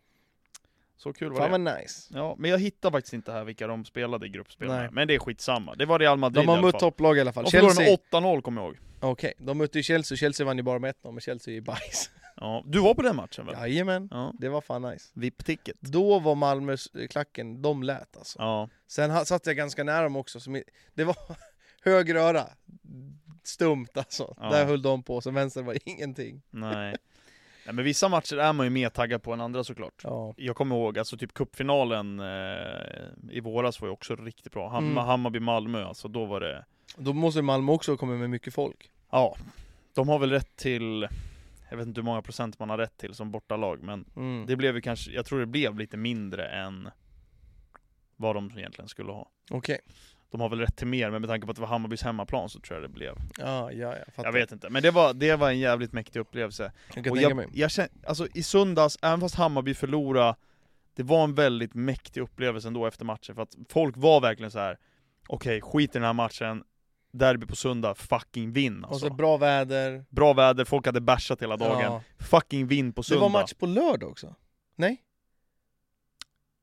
Så kul var
Fan
det.
vad nice.
Ja, men jag hittar faktiskt inte här vilka de spelade i gruppspelet.
Nej.
med. Men det är skitsamma. Det var Real Madrid
De
i
har
alla
mött
fall.
topplag i alla fall.
De förlorade
Chelsea.
med 8-0 kommer jag ihåg.
Okej, de mötte ju Chelsea. Chelsea vann ju bara med 1-0, men Chelsea är ju bajs.
Ja. Du var på den matchen väl? Ja.
Jajamän. Det var fan nice.
VIP-ticket.
Då var Malmös eh, klacken, de lät alltså.
Ja.
Sen ha- satt jag ganska nära dem också, så min- det var höger öra. Stumt alltså.
Ja.
Där höll de på, sen vänster var ingenting.
Nej. Nej, men vissa matcher är man ju mer taggad på än andra såklart.
Ja.
Jag kommer ihåg, alltså typ cupfinalen eh, i våras var ju också riktigt bra. Ham-
Mm.
Hammarby-Malmö, alltså då var det...
Då måste Malmö också komma med mycket folk.
Ja, de har väl rätt till... Jag vet inte hur många procent man har rätt till som bortalag, men
Mm.
det blev ju kanske... Jag tror det blev lite mindre än vad de egentligen skulle ha.
Okej.
De har väl rätt till mer, men med tanke på att det var Hammarbys hemmaplan så tror jag det blev.
Ja, ja, jag fattar.
Jag vet inte, men det var, det var en jävligt mäktig upplevelse.
Jag kan
och
tänka
jag,
mig.
jag känner, alltså i söndags, även fast Hammarby förlorade, det var en väldigt mäktig upplevelse ändå efter matchen, för att folk var verkligen så här. okej, skit i den här matchen, derby på söndag, fucking vinn
Och
alltså.
så bra väder.
Bra väder, folk hade bashat hela dagen.
Ja.
Fucking vinn på
Det
söndag.
var match på lördag också? Nej?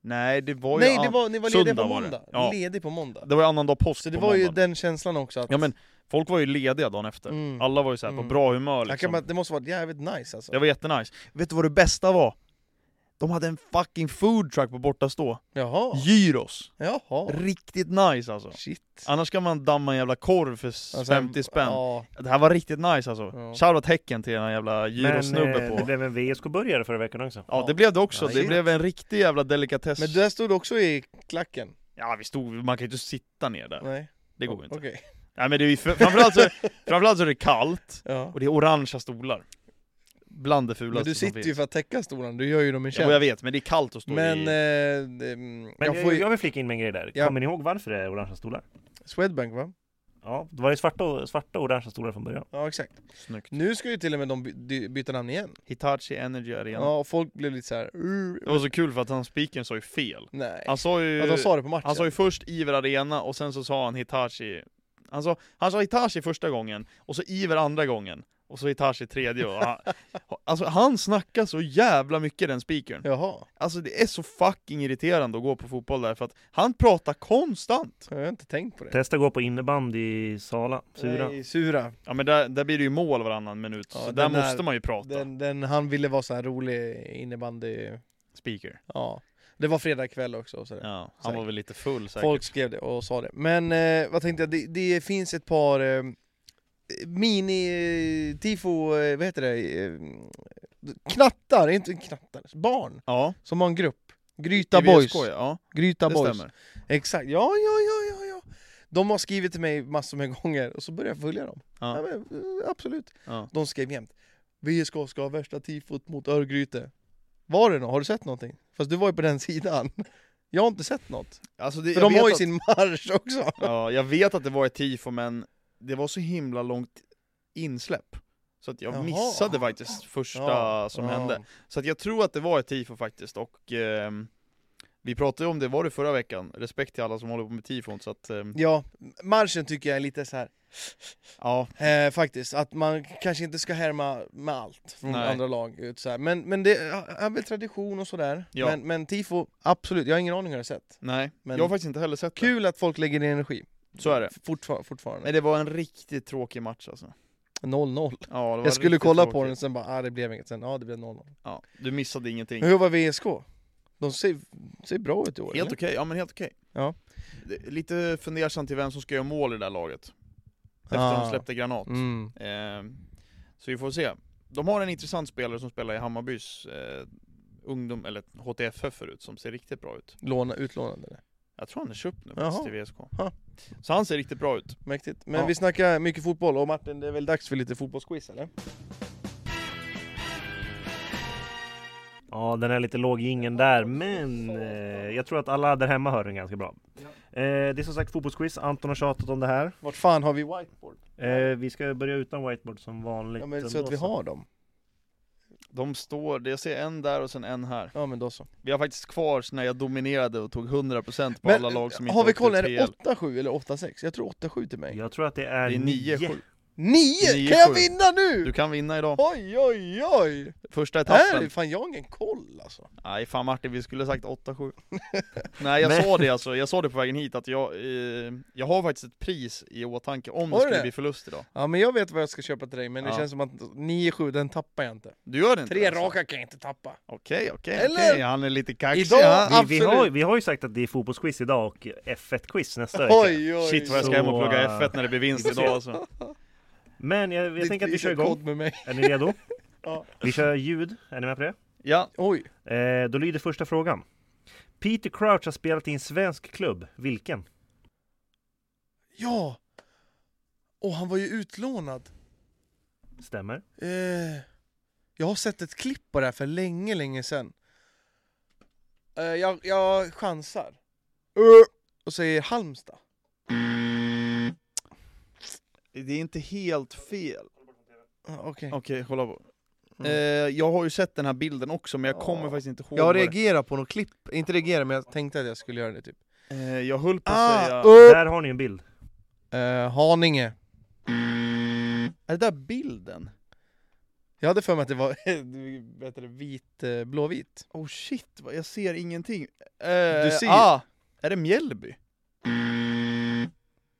Nej, det var ju
Nej, det
an-
var, ni var lediga
söndag
på
var det.
måndag.
Ja.
Ledig på måndag.
det var ju annan dag påsk
Så det
på
var ju
måndagen.
den känslan också att...
Ja men, folk var ju lediga dagen efter.
Mm.
Alla var ju så här
Mm.
på bra humör
Jag
liksom.
kan bara, det måste varit jävligt nice alltså.
Det var jättenice. Vet du vad det bästa var? De hade en fucking food truck på bortastå.
Jaha.
Gyros.
Jaha.
Riktigt nice alltså.
Shit.
Annars kan man damma en jävla korv för s-
Alltså,
50 spänn.
Ja.
Det här var riktigt nice alltså.
Ja.
Shoutout Häcken till den här jävla gyrosnubben
Men eh, det
på.
blev en VSK-burgare förra veckan också.
Ja det blev det också,
Ja,
det
shit.
blev en riktig jävla delikatess.
Men där stod du också i klacken?
Ja vi stod, man kan ju inte sitta ner där.
Nej.
Det går ju inte.
Okej.
Nej men det är ju för, framförallt, så, framförallt så är det kallt,
Ja.
och det är orangea stolar. Bland det fulaste
Men du
som
sitter
finns.
ju för att täcka stolen, du gör ju dem en
Ja, och jag
tjänst.
vet, men det är kallt att stå
Men,
i...
eh, ehm,
Men
jag får ju...
jag vill flika in med en grej där.
Ja.
Kommer ni ihåg varför det är orangea stolar?
Swedbank va?
Ja, det var ju svarta och, svarta och orangea stolar från början.
Ja exakt.
Snyggt.
Nu ska ju till och med de by- dy- byta namn igen.
Hitachi Energy Arena.
Ja, och folk blev lite så här. "Ur,
Det var så kul för att han spikern sa ju fel.
Nej.
Han sa ju,
ja, de sa det på matchen.
han sa ju först Iver Arena och sen så sa han Hitachi. Han sa, han sa Hitachi första gången och så Iver andra gången. Och så Hitachi tredje och han, Alltså han snackar så jävla mycket den spikern.
Jaha,
Alltså det är så fucking irriterande att gå på fotboll där för att han pratar konstant.
jag har inte tänkt på det.
Testa gå på innebandy i Sala, Sura.
Nej, sura.
Ja men där, där blir det ju mål varannan minut,
Ja,
så
den
där
där-
måste man ju prata.
Den, den, han ville vara så här rolig innebandy.
Speaker.
Ja. Det var fredag kväll också. Och så där.
Ja, han
Säkert.
var väl lite full säkert.
Folk skrev det och sa det. Men eh, vad tänkte jag, det, det finns ett par eh, mini-tifo, eh, vad heter det, eh, knattar, inte knattar, barn
Ja,
som har en grupp.
i
Gryta
VSK,
Boys.
ja.
Gryta
Det
Boys.
stämmer.
Exakt, ja, ja, ja, ja, ja. De har skrivit till mig massor med gånger och så börjar jag följa dem. Ja.
Ja,
men, eh, absolut.
ja.
De skrev jämt. VSK ska ha värsta tifot mot Örgryte. Var det något? Har du sett någonting? Fast du var ju på den sidan. Jag har inte sett något.
Alltså det,
För
jag
de
vet
har ju
att-
sin marsch också.
Ja, jag vet att det var ett tifo men det var så himla långt insläpp. Så att jag
Jaha.
missade faktiskt första som
ja.
hände. Så att jag tror att det var ett tifo faktiskt och ehm, vi pratade om det, var det förra veckan? Respekt till alla som håller på med tifon så att ehm,
Ja, marschen tycker jag är lite så här.
ja,
Eh, faktiskt, att man kanske inte ska härma med allt från
Nej.
andra lag. Ut så här. Men, men det är väl tradition och sådär.
Ja.
Men, men tifo, absolut. Jag har ingen aning hur jag har sett.
nej.
Men-
jag har faktiskt inte heller sett
Kul att folk lägger ner energi.
det. Så är det.
F- Fortfar fortfarande.
Men det var en riktigt tråkig match alltså.
0-0.
Ja, det var
Jag skulle
riktigt
kolla på
tråkigt.
den sen bara, ah, det blev inget. Sen, ja ah, det blev 0-0.
Ja, du missade ingenting.
Men Hur var VSK? De ser, ser bra ut i år.
Helt
eller?
okej, ja men helt okej.
Ja.
Det- Lite fundersam till vem som ska göra mål i det där laget. Efter
Ah.
de släppte granat.
Mm.
Eh, så vi får se. De har en intressant spelare som spelar i Hammarbys eh, ungdom, eller HTFF förut, som ser riktigt bra ut.
Låna, utlånade det.
Jag tror han är köpt nu
Jaha.
faktiskt till VSK.
Ja.
Så han ser riktigt bra ut.
Mäktigt. Men
Ja.
vi snackar mycket fotboll och Martin, det är väl dags för lite fotbollsquiz eller?
Ja, den är lite låg ingen där, men eh, jag tror att alla där hemma hör den ganska bra. Eh, det är som sagt fotbollsquiz, Anton har tjatat om det här.
Vart fan har vi whiteboard?
Eh, vi ska börja utan whiteboard som vanligt.
Ja, men så
ändå,
att vi har dem.
De står, jag ser en där och sen en här.
Ja men då så.
Vi har faktiskt kvar så när jag dominerade och tog 100% på
Men eh,
alla lag som inte
har vi
åkte
koll, är
till
det
PL.
8-7 eller 8-6? Jag tror 8-7 till mig.
Jag tror att det är,
Det är
9.
9-7.
9!
Nio,
Kan jag
sju.
vinna nu?
Du kan vinna idag.
Oj oj oj!
Första
Här är
etappen.
fan jag har ingen koll alltså.
Nej fan Martin, vi skulle sagt 8-7. Nej jag
Men-
sa det alltså, jag sa det på vägen hit att jag, eh, jag har faktiskt ett pris i åtanke om det
Har du
skulle
det?
bli förlust idag.
Ja men jag vet vad jag ska köpa till dig, men det
Ja.
känns som att 9-7, den tappar jag inte.
Du gör det inte?
Tre
alltså?
raka kan jag inte tappa.
Okej, okej,
Eller?
okej. Han är lite kaxig.
Idag-
han.
Vi, vi,
Absolut.
har, vi har ju sagt att det är fotbollsquiz idag och F1-quiz nästa vecka.
Oj oj!
Shit vad jag ska hem och
Så,
plugga
eh,
F1 när det blir vinst idag alltså.
Men jag, jag
Ditt-
tänker att vi
ditt
kör igång.
kod med mig.
Är ni redo?
Ja.
Vi kör ljud. Är ni med på det?
Ja,
Oj!
Eh, då lyder första frågan. Peter Crouch har spelat i en svensk klubb. Vilken?
Ja! Och han var ju utlånad.
Stämmer.
Eh, jag har sett ett klipp på det här för länge, länge sedan. Eh, jag, jag chansar. Eh, och säger Halmstad.
det är inte helt fel.
Ah, Okej.
Okej, kolla på.
Mm.
Eh, jag har ju sett den här bilden också, men jag
Ja.
kommer faktiskt inte ihåg.
Jag
vad det-
reagerar på något klipp, inte reagerar men jag tänkte att jag skulle göra det typ.
Eh, jag höll på att säga...
Ah, upp.
Där har ni en bild.
Eh, Haninge.
Är det där bilden?
Jag hade för mig att det var vad heter det, vit, eh, blåvit.
Oh shit, vad- jag ser ingenting.
Du ser-
Ah, är det Mjällby?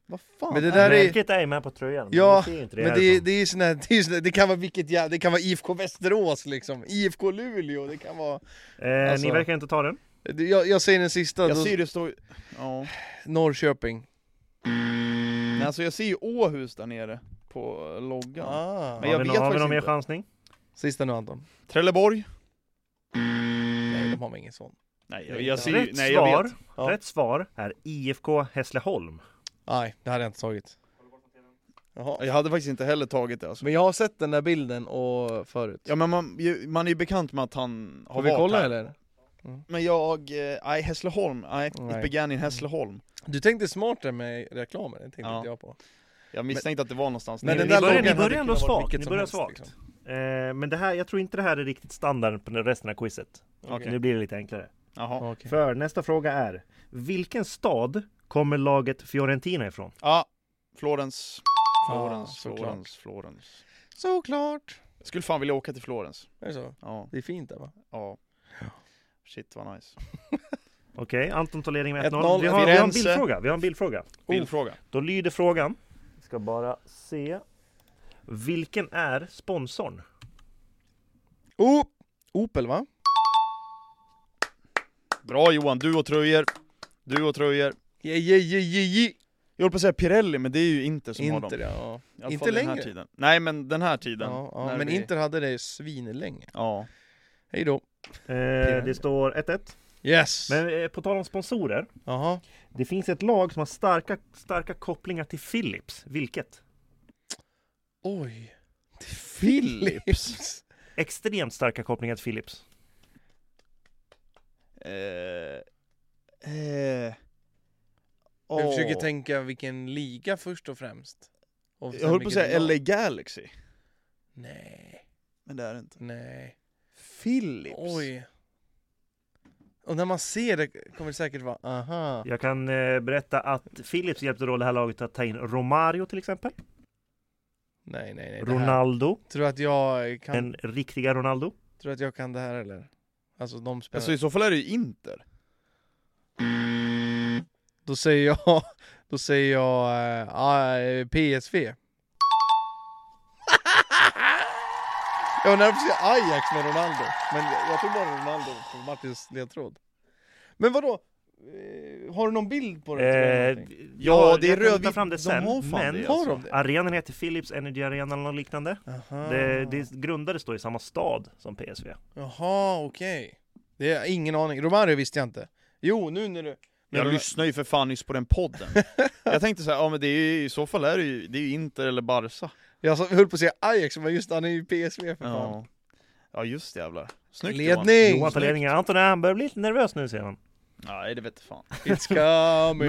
Vad fan?
Men det
är
där är-
Märket är ju med på tröjan. men
Ja,
ni ser ju inte det
Men det, är-
härifrån.
det är ju sån här, det, är ju sån här, det kan vara vilket jävla, det kan vara IFK Västerås liksom, IFK Luleå, det kan vara...
eh,
alltså-
Ni verkar inte ta den.
Det- Jag, jag säger den sista,
Jag
då,
ser ju det står... Ja.
Norrköping.
Nej, alltså jag ser ju Åhus där nere på eh, loggan.
Ah.
Men
har
jag vet
vi, nå- har vi
faktiskt
någon mer
inte.
chansning?
Sista nu Anton.
Trelleborg?
Nej, de har väl ingen sån.
Nej,
jag-
jag,
jag
ser ju...
Rätt,
Nej, jag
svar,
vet.
Ja.
rätt svar är IFK Hässleholm.
Nej, det hade jag inte tagit. Jaha.
Jag hade faktiskt inte heller tagit det alltså.
Men jag har sett den där bilden och förut.
Ja men man, ju- man är ju bekant med att han har
Får vi
varit
kolla
här.
eller?
Men jag, eh, nej Hässleholm, nej,
Nej.
it began in Hässleholm
Du tänkte smartare med reklamen, det tänkte
Ja.
inte jag på.
Jag misstänkte att det var någonstans
Men
nere.
den
ni
där
börjar, ni
loggan hade
börjar ändå
kunnat vara
svagt.
vilket
Ni
som
börjar
helst,
svagt.
liksom.
Eh, men det här, jag tror inte det här är riktigt standard på resten av quizet.
Okej.
Nu blir det lite enklare.
Jaha,
Okej.
För nästa fråga är, vilken stad kommer laget Fiorentina ifrån?
ja, Florens, Florens,
Ah, såklart.
Florens, Florens
Såklart!
Jag skulle fan vilja åka till Florens,
Är det så?
ja,
Det är fint där va?
ja Shit vad nice
Okej, Anton tar ledning med 1-0.
1-0,
Vi, har, vi har en
Firenze.
bildfråga. Vi har en bildfråga.
Bildfråga
Då lyder frågan. Jag ska bara se. Vilken är sponsorn?
Oh! Opel va?
Bra Johan, du och tröjor Du och tröjor
Yeah, yeah, yeah, yeah, yeah.
Jag höll på att säga Pirelli, men det är ju Inter som har
Inter
dem
ja. ja.
I alla
Inte
fall den här
längre.
tiden. Nej men den här tiden
ja, ja.
när
Men
vi-
Inter hade det svinlänge.
Ja,
Hej då.
Eh, det står 1-1.
Yes!
Men eh, på tal om sponsorer.
Jaha.
Det finns ett lag som har starka, starka kopplingar till Philips. Vilket?
Oj. Det är
Philips.
Extremt starka kopplingar till Philips.
eh, eh,
Jag försöker
åh.
tänka vilken liga först och främst. Och sen
Jag höll på att
vilket
säga
lag.
LA Galaxy,
Nej,
men det är det inte.
nej.
Philips.
Oj. Och när man ser det kommer det säkert vara aha.
Jag kan eh, berätta att Philips hjälpte då det här laget att ta in Romario till exempel.
Nej, nej, nej. det här-
Ronaldo.
Tror du att jag kan,
Den riktiga Ronaldo.
tror du att jag kan det här eller? Alltså de spelar.
Alltså i så fall är det ju Inter.
Då säger jag, då säger jag eh, ah, eh, PSV. jag var nära på att säga Ajax med Ronaldo, men jag jag tog bara Ronaldo på Martins ledtråd. Men vadå? Eh, Har du någon bild på det?
Eh,
eller någonting?
Ja, det är
jag kan ta
rödvitt.
fram det sen,
de har fan
men-
det,
Har
alltså. Ah.
de det?
Arenan heter Philips Energy Arena eller något liknande.
Aha.
Det, det grundades då i samma stad som PSV.
Jaha, okej. Det är ingen aning. Romario visste jag inte. Jo, nu när du...
Jag
Men-
lyssnar ju för fan nyss på den podden. jag tänkte så här, ja men det är ju, i så fall är det ju, det är ju Inter eller Barca.
Jag sa- höll på att säga Ajax, men just han är ju PSV för fan.
Ja, ja just det jävlar. Snyggt
Ledning!
Johan tar ledningen. Anton han börjar bli lite nervös nu ser man.
Johan. Nej det vet fan.
It's coming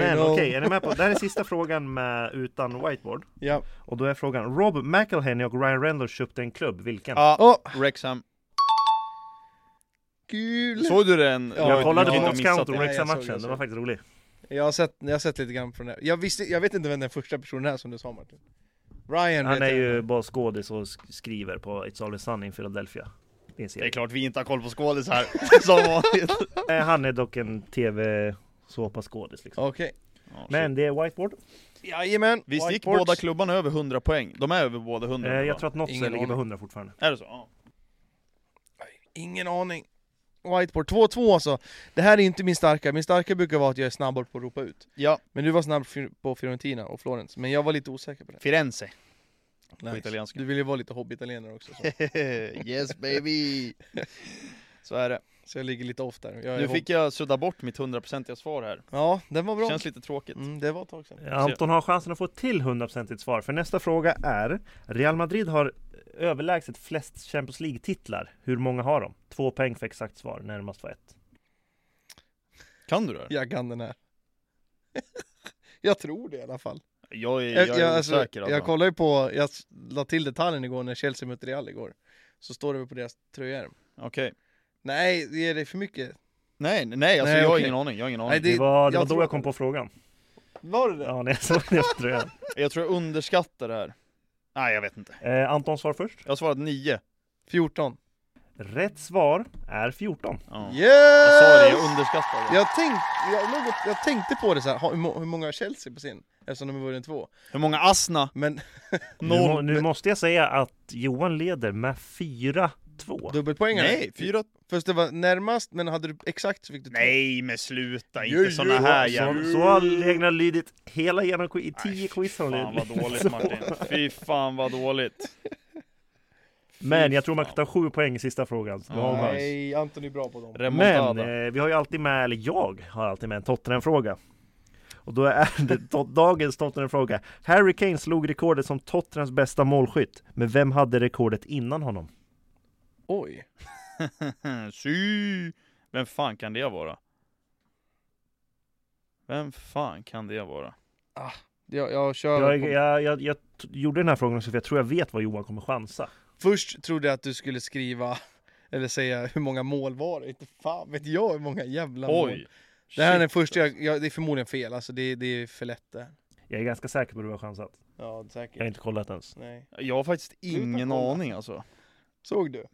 Men okej,
home.
är ni med på? Det här är sista frågan med, utan whiteboard.
Ja.
Och då är frågan, Rob McElhenney och Ryan Reynolds köpte en klubb, vilken?
Ja,
Åh,
Wrexham.
kul!
Såg du den?
Ja,
jag kollade
jag
på
har
Box
missat
Count och
det.
Nej, jag såg det,
Wrexham-matchen,
jag
den
såg
var
det.
faktiskt rolig.
Jag, har sett, jag har sett lite grann på den här. Jag, visste, jag vet inte vem den första personen är som du sa Martin. Ryan
Han
vet
är
jag.
ju bara skådis och sk- skriver på It's Always Sunny in Philadelphia. Det är en
Det är
serie.
klart vi inte har koll på skådisar, som vanligt.
Eh, Han är dock en tv-såpa-skådis liksom.
Okej.
Ja,
Men det är whiteboard.
Jajamän!
Visst gick
whiteboards.
båda klubbarna över 100 poäng? De är över båda 100
Eh,
nu, va?
Jag tror att något
Ingen
ligger på
aning.
100 fortfarande.
Är det så? Ja.
Ingen aning. Whiteboard 2-2 alltså. Det här är inte min starka. Min starka brukar vara att jag är snabbare på att ropa ut.
ja.
Men du var snabb fi- på Fiorentina och Florens. Men jag var lite osäker på det.
Firenze. På
Nice.
italienska.
Du vill ju vara lite hobbitalienare också. Så,
yes baby! Så är det.
så jag ligger lite off där. Jag är
Nu
hob-
fick jag sudda bort mitt 100% svar här.
Ja, den var bra.
Känns lite tråkigt.
Mm, det var ett tag sedan.
Eh, Anton har chansen att få ett till 100% svar, för nästa fråga är Real Madrid har överlägset flest Champions League-titlar. Hur många har de? Två poäng för exakt svar, närmast var ett.
Kan du det? här?
Jag kan den här. jag tror det i alla fall.
Jag är, jag är
alltså,
osäker alltså.
jag kollar ju på, jag s- la till detaljen igår när Chelsea mötte Real igår. Så står det väl på deras tröjor.
Okej.
Nej, det är det för mycket.
Nej, nej alltså
Nej,
jag har
okej.
ingen aning, jag har ingen
Nej,
aning.
Det var, det
jag
var då
tror-
jag kom på frågan.
Var det det?
Ja, när jag såg det tror jag.
Jag tror jag underskattar det här. Nej jag vet inte.
Eh, Anton svar först.
Jag har svarat 9.
14.
Rätt svar är 14.
Ja.
Yes!
Jag sa det, jag underskattar det.
Jag, tänk, jag, något, jag tänkte på det så här, ha- hur, må, hur många har Chelsea på sin? Eftersom de har vunnit två.
Hur många asna?
Men
Nu, må,
Noll.
nu måste jag säga att Johan leder med 4-2.
dubbelpoängare?
Nej, fyra.
Först det var närmast, men hade du exakt så fick du två.
Nej men sluta,
Jo,
inte
jo,
såna här
alltså.
jävla...
Så, så har reglerna lydit hela genom i 10 quiz. har
Fan
de
vad
lydit.
dåligt Martin. Fy fan vad dåligt.
Men jag tror man kan ta 7 poäng i sista frågan. Så det var nice.
Nej, Anton är bra på dem.
Remontada.
Men eh, vi har ju alltid med, eller jag har alltid med en Tottenham-fråga. Och då är det to- dagens Tottenham-fråga. Harry Kane slog rekordet som Tottenhams bästa målskytt. Men vem hade rekordet innan honom?
Oj.
Hmm, Sy. Vem fan kan det vara? Vem fan kan det vara?
Jag, jag kör.
Jag,
på-
jag, jag, jag t- gjorde den här frågan också för jag tror jag vet vad Johan kommer chansa.
Först trodde jag att du skulle skriva, eller säga hur många mål var det? Inte fan vet jag hur många jävla mål.
Oj!
Det här är
Shit.
den första, jag, jag, det är förmodligen fel, alltså det, det är för lätt det här.
Jag är ganska säker på att du har chansat.
Ja,
Jag har
säkert.
inte kollat ens.
Nej.
Jag har faktiskt ingen
kolla.
aning alltså.
Såg du?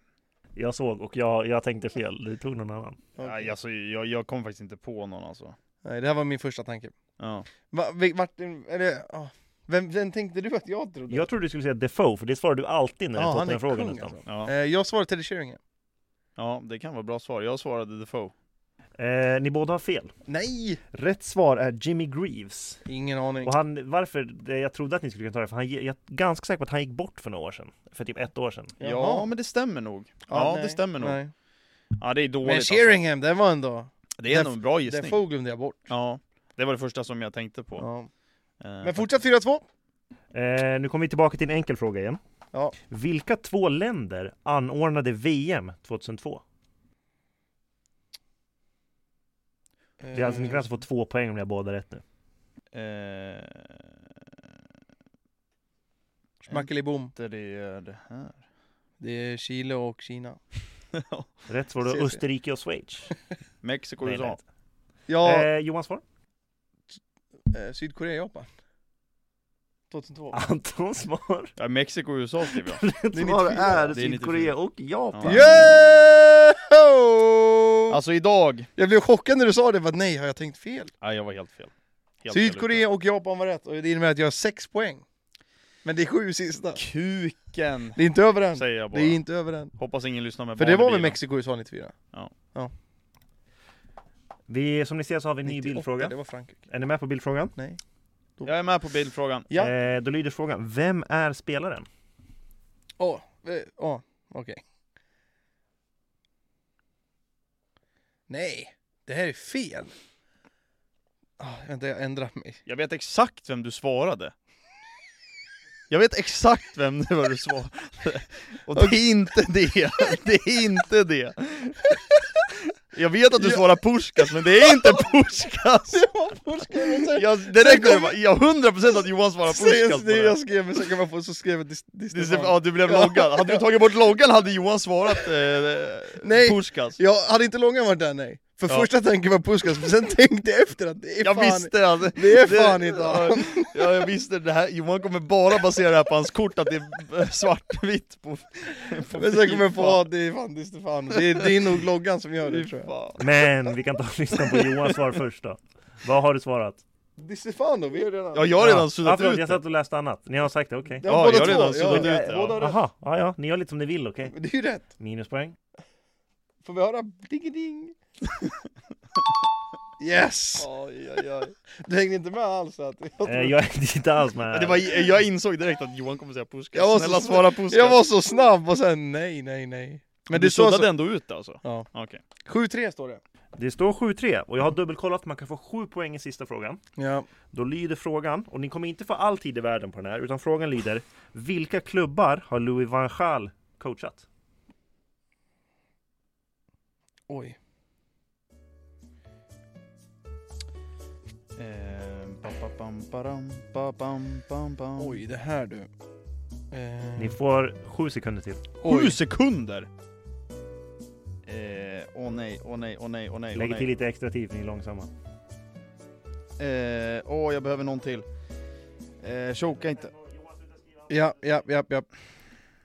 Jag såg och jag, jag tänkte fel. Du tog någon annan.
Okej.
Nej, alltså jag, jag kom faktiskt inte på någon alltså.
Nej, det här var min första tanke.
Ja.
Va, vi- vart, är det, ah. vem, vem tänkte du att jag trodde?
Jag trodde du skulle säga Defoe för det svarar du alltid när det
Ja,
är
han är
Tottenham-frågan
kung,
nästan.
Ja.
alltså. Eh, jag svarade Teddy Sheringham.
ja, det kan vara bra svar. Jag svarade Defoe.
Eh, ni båda har fel.
Nej!
Rätt svar är Jimmy Greaves.
Ingen aning.
Och han, varför det, jag trodde att ni skulle kunna ta det, för han, jag är ganska säker på att han gick bort för några år sedan. För typ ett år sedan.
Jaha.
Ja, men det stämmer nog. Ja, det stämmer nog.
Nej.
Ja, det är dåligt
Men Sheringham, det var ändå...
alltså. Det är ändå
Def-
en bra gissning.
Defoe glömde jag bort.
Ja, det var det första som jag tänkte på.
Ja.
Eh,
Men fortsatt 4-2.
Eh, nu kommer vi tillbaka till en enkel fråga igen.
Ja.
Vilka två länder anordnade VM 2002? Det är alltså, ni kan alltså få två poäng om ni har båda rätt nu.
eh,
Schmackeli Eh, bom.
inte det är det här.
Det är Chile och Kina.
Rätt svar då
Ses vi.
Österrike och Schweiz.
Mexiko,
Nej,
USA.
rätt.
Ja,
Eh, Johan svar?
eh, Sydkorea, Japan. 2002.
Ah, Anton svar?
Ja, Mexiko, USA skrev jag.
Rätt
Det är
svar
94.
är
Det är
Sydkorea och Japan.
Ja.
Yeah!
Alltså idag!
Jag blev chockad när du sa det, bara, nej har jag tänkt fel?
Nej, jag var helt fel. Helt fel
Sydkorea och Japan var rätt, och det innebär att jag har sex poäng. Men det är sju sista.
ute. Kuken!
Det är inte över än.
Säger jag
Det
bara.
är inte över än.
Hoppas ingen lyssnar med
För det
barn i
var väl
bilen.
Mexiko i USA 94?
Vi, som ni ser så har vi en ny
98,
bildfråga.
Det var Frankrike.
Är ni med på bildfrågan?
Jag är med på bildfrågan.
Ja.
Eh, då lyder frågan, vem är spelaren?
Åh, eh, åh, okej. Nej, det här är fel. Ah, vänta, jag ändrar mig.
Jag vet exakt vem du svarade. Jag vet exakt vem det var du svarade. Och det är inte det. Det är inte det. Jag vet att du
Ja.
svarar Pushkas, men det är inte Pushkas!
Det var forskaren som-
Jag, det räcker med att bara- jag hundra procent att Johan svarar Pushkas
Säg
på
det
det.
jag skrev, men så kan man få, så skrev jag till, till
det är, så-
Stefan.
ja, du blev loggad. Hade du tagit bort loggan hade Johan svarat eh,
Nej.
Pushkas.
Jag hade inte långa varit där nej. För
Ja.
första tanken var Puskas, men sen tänkte jag efter att det är
Jag
fan...
visste att
det är fan inte
ja,
han.
ja, jag visste det här. Johan kommer bara basera det här på hans kort, att det är eh, svartvitt på, på
Men sen kommer jag
Fifa.
på att det är fan det är Stefan. Det är, det är nog loggan som gör det tror jag.
Fan.
Men vi kan ta och lyssna på Johans svar först då. Vad har du svarat?
Det är Stefano, vi är redan...
Ja, jag har redan
ja,
suddat
förlåt,
ut
jag
det.
satt och läste annat. Ni har sagt det, okej.
Det
Ja,
var båda
jag har redan
två.
suddat
Ja,
ut det,
Båda
ja.
rätt.
Jaha, ja, ja, ni gör lite som ni vill, okej.
Men Det är ju rätt.
Minuspoäng.
Får vi höra? Ding ding. Yes!
Aj, aj, aj.
Du hängde inte med alls. Att jag,
Eh, jag är inte alls med.
Det var, jag insåg direkt att Johan kommer säga Puskas.
Jag var så
Snälla
sn-
svara Puskas.
jag var så snabb och sen nej, nej, nej.
Men
Men
du
det står
suddade
så...
ändå ut det, alltså?
Ja.
Okej.
7-3 står det.
Det står 7-3 och jag har dubbelkollat, man kan få 7 poäng i sista frågan.
Ja.
Då lyder frågan, och ni kommer inte få all tid i världen på den här, utan frågan lyder Vilka klubbar har Louis van Gaal coachat?
Oj.
Eh,
Oj, det här du. Eh,
Ni får 7 sekunder till.
Sju
oj.
sekunder! Eh, Åh nej, åh nej, åh nej, åh nej, åh
Lägger till
nej.
lite extra tid för ni är långsamma.
Eh, Åh, jag behöver någon till. Eh, Choka inte.
Ja, ja, ja, ja.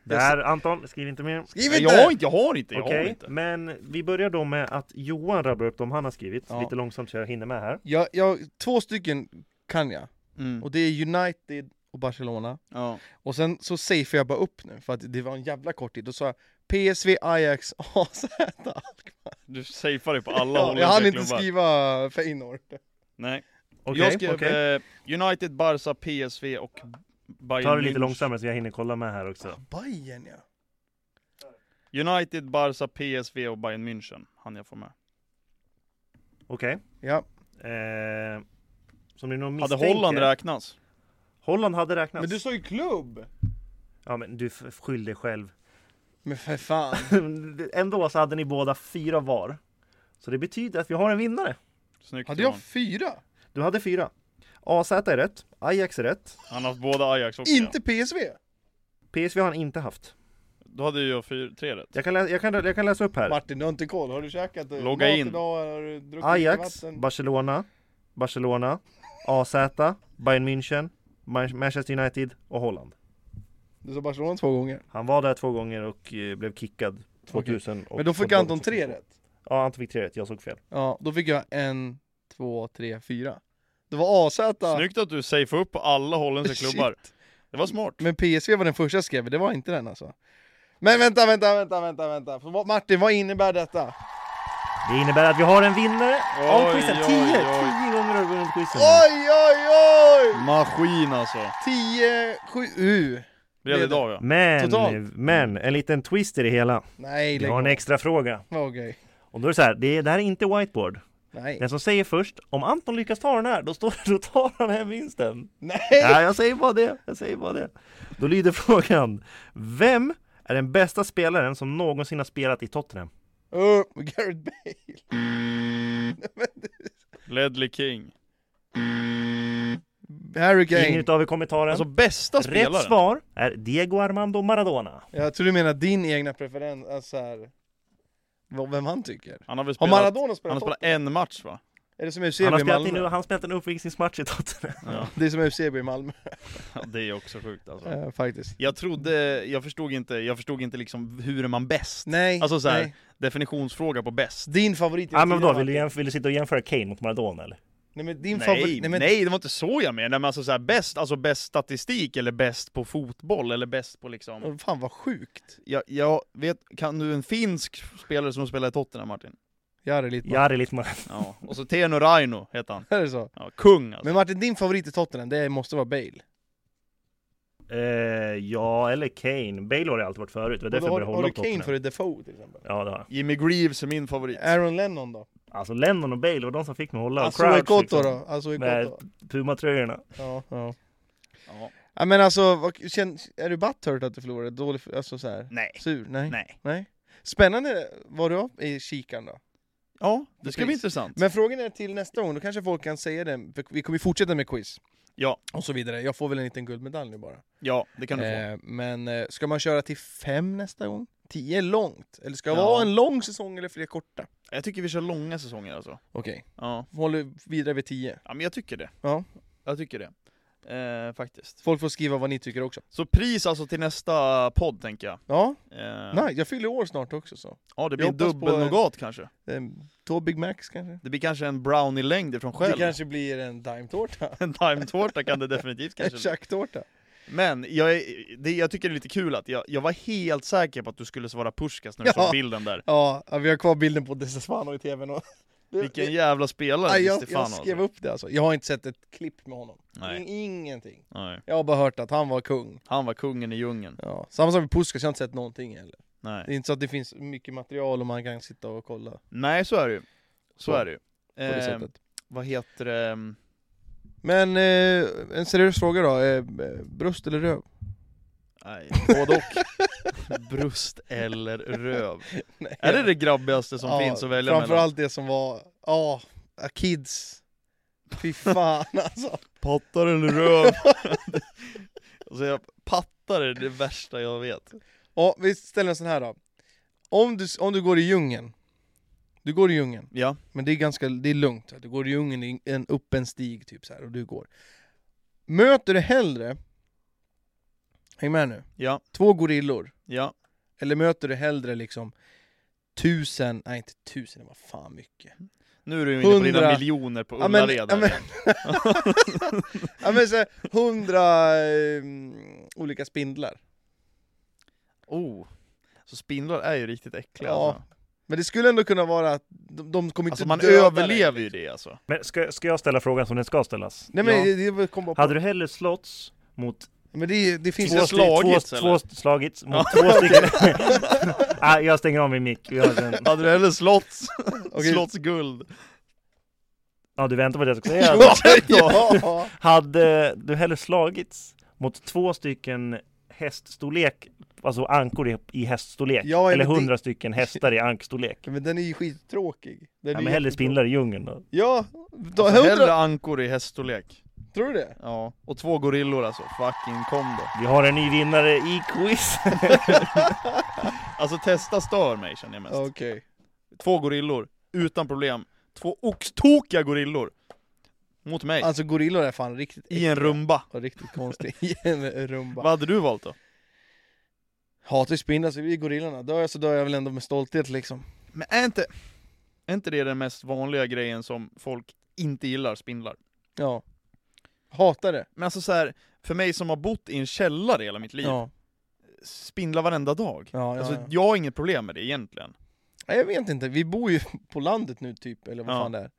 Där Anton, skriv inte mer.
Skriv
Nej,
inte!
Jag har inte, jag har inte, jag har
Okej,
inte.
men vi börjar då med att Johan rabblar upp de han har skrivit.
Ja.
Lite långsamt så jag hinner med här.
Jag, jag, två stycken kan jag.
Mm.
Och det är United och Barcelona.
Ja.
Och sen så safear jag bara upp nu, för att det var en jävla kort tid. Då sa jag PSV, Ajax, AZ.
Du safear dig på alla håll
Ja,
och
jag hann
olika
inte
klubbar.
skriva Feyenoord.
Nej.
Okej,
jag skrev
okej.
eh, United, Barca, PSV och Bayern
Ta det lite
München.
långsammare så jag hinner kolla med här också.
Bayern ja.
United, Barca, PSV och Bayern München hann jag få med.
Okej.
Ja,
Eh, som ni nog
Hade
misstänker.
Holland räknats?
Holland hade räknats.
men du sa ju klubb!
Ja men du f- skyll dig själv.
Men för fan.
Ändå så hade ni båda fyra var. Så det betyder att vi har en vinnare.
Snyggt
Hade
Johan.
jag fyra?
Du hade fyra. AZ är rätt. Ajax är rätt.
Han har haft båda Ajax också.
Inte PSV!
PSV har han inte haft.
ja. Då hade ju jag fyra, tre rätt.
Jag kan, läsa, jag, kan, jag kan läsa upp här.
Martin, du har inte koll. Har du käkat eh,
Logga
mat
in.
idag? Har du druckit
Ajax,
vatten?
Barcelona, Barcelona, AZ, Bayern München, Man- Manchester United och Holland.
Du sa Barcelona två gånger.
Han var där två gånger och eh, blev kickad 2000. Och
Men då fick
och-
Anton tre rätt.
Ja, Anton fick tre rätt. Jag såg fel.
Ja, då fick jag en, två, tre, fyra. Det var AZ.
Snyggt att du safear upp på alla holländska
Shit.
klubbar. Det var smart.
Men PSV var den första jag skrev, det var inte den alltså. Men vänta, vänta, vänta, vänta, vänta. För vad- Martin, vad innebär detta?
Det innebär att vi har en vinnare av
Oj,
quizen.
oj,
10
oj.
gånger har vi vunnit quizen.
Oj, oj, oj!
Maskin alltså.
10, 7, U.
Blev det
Blev
idag ja.
Men,
Totalt.
men, en liten twist i det hela.
Nej,
Vi
lägg
har en
av.
extra fråga.
Vad okej.
Och då är det så här, det, är, det här är inte whiteboard.
Nej.
Den som säger först, om Anton lyckas ta den här, då, står, då tar han hem vinsten.
Nej!
Ja, jag säger bara det, jag säger bara det. Då lyder frågan, vem är den bästa spelaren som någonsin har spelat i Tottenham?
Uh, Gareth Bale.
Ledley King.
Mm. Harry
Ingen
Kane.
utav er kommer ta den.
Alltså bästa spelaren.
Rätt svar är Diego Armando Maradona.
Jag tror du menar din egna preferens, alltså här, vad- vem han tycker.
Han har väl
Har
spelat,
Maradona
han har
spelat
spelat en match va?
Är det som UCB
Han har
i
spelat, i nu,
Malmö?
han har spelat en uppvisningsmatch i Tottenham.
Ja.
Det är som UCB i Malmö,
Ja, det är också sjukt alltså.
eh, faktiskt.
Jag trodde, jag förstod inte, jag förstod inte liksom hur är man bäst?
Nej,
Alltså så här,
nej.
Definitionsfråga på bäst.
Din favorit
Ja men vadå, vill du, jämf- vill du sitta och jämföra Kane mot Maradona eller?
Nej men din
nej,
favorit... men-
nej, det var inte så jag menade, men alltså så här, bäst, alltså bäst statistik eller bäst på fotboll eller bäst på liksom...
Åh, Fan vad sjukt!
Jag, jag vet, kan du en finsk spelare som spelar i Tottenham Martin?
Jari Littman.
Jari Littman.
Ja, och så Teno Raino heter han.
Är det så?
Ja, kung alltså.
Men Martin, din favorit i Tottenham, det måste vara Bale.
Eh, ja, eller Kane. Bale har det alltid varit förut. Det var
Och
därför
då
jag
har,
började
har
hålla
du
på
Kane
Tottenham.
för Defoe till exempel?
Ja, det har jag.
Jimmy Greaves är min favorit.
Aaron Lennon då?
Alltså Lennon och Bale var de som fick mig att hålla
Han
och
såg i
crouch,
Kotto
liksom,
Alltså, då. Han såg i
Med
Kotto.
Puma-tröjorna.
Ja, ja.
Ja.
ja, men alltså, vad, känn, är du butthurt att du förlorade? Dålig, för- alltså så här.
Nej.
Sur? Nej.
Nej.
Spännande var du var i kikan då.
Ja, det ska
Precis.
bli intressant.
Men frågan är till nästa gång, då kanske folk kan säga det, för vi kommer ju fortsätta med quiz.
Ja.
Och så vidare. Jag får väl en liten guldmedalj nu bara.
Ja, det kan du få.
Eh, men eh, ska man köra till fem nästa gång? Tio är långt. Eller ska det
Ja.
vara en lång säsong eller fler korta?
Jag tycker vi kör långa säsonger alltså.
Okej,
Ja,
håller vidare vid tio.
ja men jag tycker det.
Ja.
Jag tycker det. Eh, faktiskt.
Folk får skriva vad ni tycker också.
Så pris alltså till nästa podd tänker jag.
Ja,
Eh,
nej, jag fyller år snart också så.
Ja, det
Jag
blir en
hoppas på
dubbel
en-
nougat kanske.
Eh, Två Big Macs kanske?
Det blir kanske en brownie-längd ifrån själv.
Det kanske blir en Dime-tårta.
En timetårta kan det definitivt
En
kanske bli.
Chuck-tårta.
Men jag, är, det, jag tycker det är lite kul att jag, jag var helt säker på att du skulle svara Puskas när du
Ja.
såg bilden där.
Ja, ja, vi har kvar bilden på Desesfano i tvn. Och
Vilken jävla spelare
Nej,
Di
jag,
Stefano
jag
alltså.
skrev upp det alltså. Jag har inte sett ett klipp med honom.
Nej.
In- Ingenting.
Nej.
Jag har bara hört att han var kung.
Han var kungen i djungeln.
Ja. Samma som med Puskas, jag har inte sett någonting heller. Det
Nej.
är inte så att det finns mycket material och man kan sitta och kolla på
Nej, så är det ju. Så
Så,
är det ju.
det
Eh,
sättet.
vad heter det? Ehm,
Men eh, en seriös fråga då, eh, bröst eller röv?
Nej, både och. Bröst eller röv.
Nej.
Är det det grabbigaste som
Ja,
finns att välja mellan?
Framförallt det som var, ja, Ah, kids. Fy fan alltså.
Pattar eller röv? alltså jag, pattar är det värsta jag vet.
Ja, vi ställer en sån här då. Om du, om du går i djungeln, du går i djungeln,
Ja,
Men det är ganska det är lugnt. Du går i djungeln i en, upp en stig typ så här och du går. Möter du hellre, häng med nu,
ja,
två gorillor?
ja.
Eller möter du hellre liksom tusen, nej inte tusen, det var fan mycket.
Nu är du ju inne på dina
Hundra.
miljoner på
Ja, men-
Ullared
ja,
här
men-
igen.
Ja men såhär hundra eh, olika spindlar.
Oh. Så spindlar är ju riktigt äckliga
Ja,
alltså.
Men det skulle ändå kunna vara att de, de kommer inte
alltså man
döda dig.
överlever ju det alltså.
Men ska, ska jag ställa frågan som den ska ställas?
Nej men
Ja.
det, det kom bara på.
Hade du hellre slåtts mot
Men det, det finns
Två
två,
ju...
det slagits,
två,
eller?
två slagits mot två stycken? ah, jag stänger av min mick. Vi har en-
Hade du hellre slotts,
Okej.
slotts guld?
Ja, du väntar på det jag ska säga.
ja.
Hade du hellre slagits mot två stycken häststorlek, alltså ankor i, i häststorlek,
Ja, men
eller
det-
hundra stycken hästar i ankstorlek?
Men den är ju skittråkig. Den är
Ja,
ju
men hellre
jättetråkig.
spindlar i djungeln då.
Ja, då,
Alltså,
hundra,
hellre ankor i häststorlek.
tror du det?
Ja. Och två gorillor alltså. Fucking kom då.
Vi har en ny vinnare i quiz.
Alltså testa stör mig känner jag mest.
Okej.
Två gorillor, utan problem. Två oxtokiga gorillor. Mot mig.
Alltså gorillor är fan riktigt
I en
äckliga
rumba.
och riktigt konstiga. I en rumba.
Vad hade du valt då?
Hatar ju spindlar så vi är gorillorna. Dör jag så dör jag väl ändå med stolthet liksom.
Men är inte, är inte det den mest vanliga grejen som folk inte gillar, spindlar?
Ja. Hatar det.
Men alltså så här, för mig som har bott i en källare hela mitt liv,
Ja.
spindlar varenda dag.
Ja, ja,
alltså,
ja.
jag har inget problem med det egentligen.
Nej, jag vet inte, vi bor ju på landet nu typ, eller vad
Ja.
fan det är.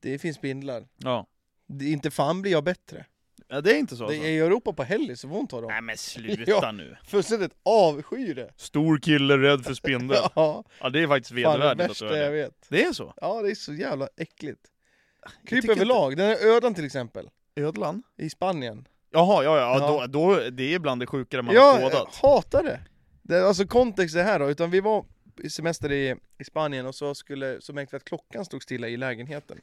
Det finns spindlar.
Ja.
Det, inte fan blir jag bättre.
ja det är inte så
Det
alltså.
är i Europa på helg så får hon ta dem.
Nej men sluta
Ja.
nu.
Fullständigt avskyr det.
Stor kille rädd för spindel. ja.
Ja,
det är faktiskt
fan det
vedervärdigt att du
värsta
är
jag
det.
vet.
Det är så?
Ja, det är så jävla äckligt. Kryp
tycker
överlag. Den här ödan till exempel,
Ödlan?
i Spanien.
Jaha, ja, ja,
Ja.
ja. Då, då, det är bland det sjukare man har
Jag
skådat.
hatar det. det! Alltså kontext är här då, utan vi var i semester i, i Spanien och så skulle, så märkte vi att klockan stod stilla i lägenheten.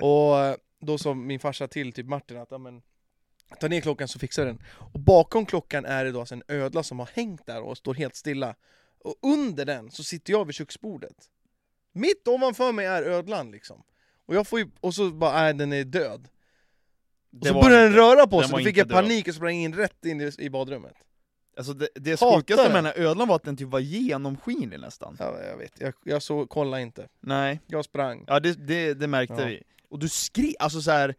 och eh, då sa min farsa till typ Martin att ja, men, ta ner klockan så fixar den. Och bakom klockan är det då alltså en ödla som har hängt där och står helt stilla. Och under den så sitter jag vid köksbordet. Mitt ovanför mig är ödlan liksom. Och jag får ju, och så bara, nej den är död. Och
Det
så
var
började den
inte-
röra på
den
sig,
var
då fick
inte
jag
död.
panik och sprang in rätt in i, i badrummet.
Alltså det, det
Hatar
sjukaste
det.
med den här ödlan var att den typ var genomskinlig nästan.
Ja, jag vet, jag, jag såg, kolla inte.
Nej.
Jag sprang.
Ja det, det, det märkte
Ja.
vi. Och du skrek, alltså så här.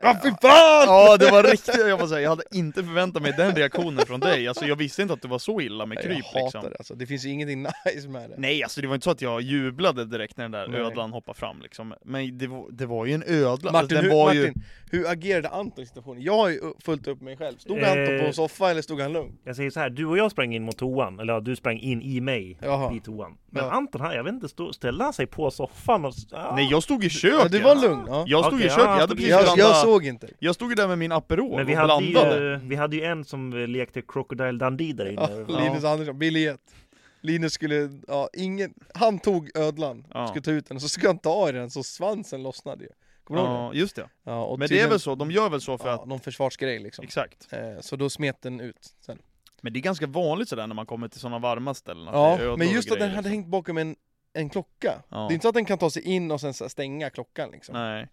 Ja, fy fan!
Ja det var riktigt, jag, bara, så här, jag hade inte förväntat mig den reaktionen från dig, alltså jag visste inte att det var så illa med
Jag
kryp
hatar
liksom
det alltså. Det finns ju ingenting nice med det.
Nej alltså det var inte så att jag jublade direkt när den där
Nej.
ödlan hoppade fram liksom Men det var, det var ju en ödla, alltså,
Martin,
den
hur,
var ju...
Martin hur agerade Anton i situationen? Jag har ju u- fullt upp mig själv. Stod Anton
Eh.
på en soffa eller stod han lugn?
Jag säger så här, du och jag sprang in mot toan, eller ja, du sprang in i mig
Jaha.
i toan. Men
Ja.
Anton här, jag vet inte, stå, ställde han sig på soffan och... s- Ah.
Nej jag stod i köket!
Ja, du var lugn. Ja.
Jag stod i
Okej,
köket, jag
ja,
hade
stod i
precis
köket.
Jag,
blandat
jag såg inte.
Jag stod ju där med min Aperol
Men vi
och
hade,
blandade
ju, vi hade ju en som eh, lekte Crocodile Dundee där inne.
Ja, Linus Andersson, biljett. Linus skulle, ja, ingen, han tog ödlan,
Ja.
skulle ta ut den, och så skulle han ta i den så svansen lossnade ju. Kommer du ihåg det?
Ja, just det.
Ja, och
Men det är
tydligen-
väl så, de gör väl så för
ja,
att...
Någon försvarsgrej liksom.
Exakt.
Eh, så då smet den ut sen.
Men det är ganska vanligt sådär när man kommer till sådana varma ställen att det är
Ja,
ödlor
men
och
just att den
grejer,
hade
liksom.
hängt bakom en, en klocka.
Ja.
Det är inte så att den kan ta sig in och sen så här stänga klockan liksom.
Nej.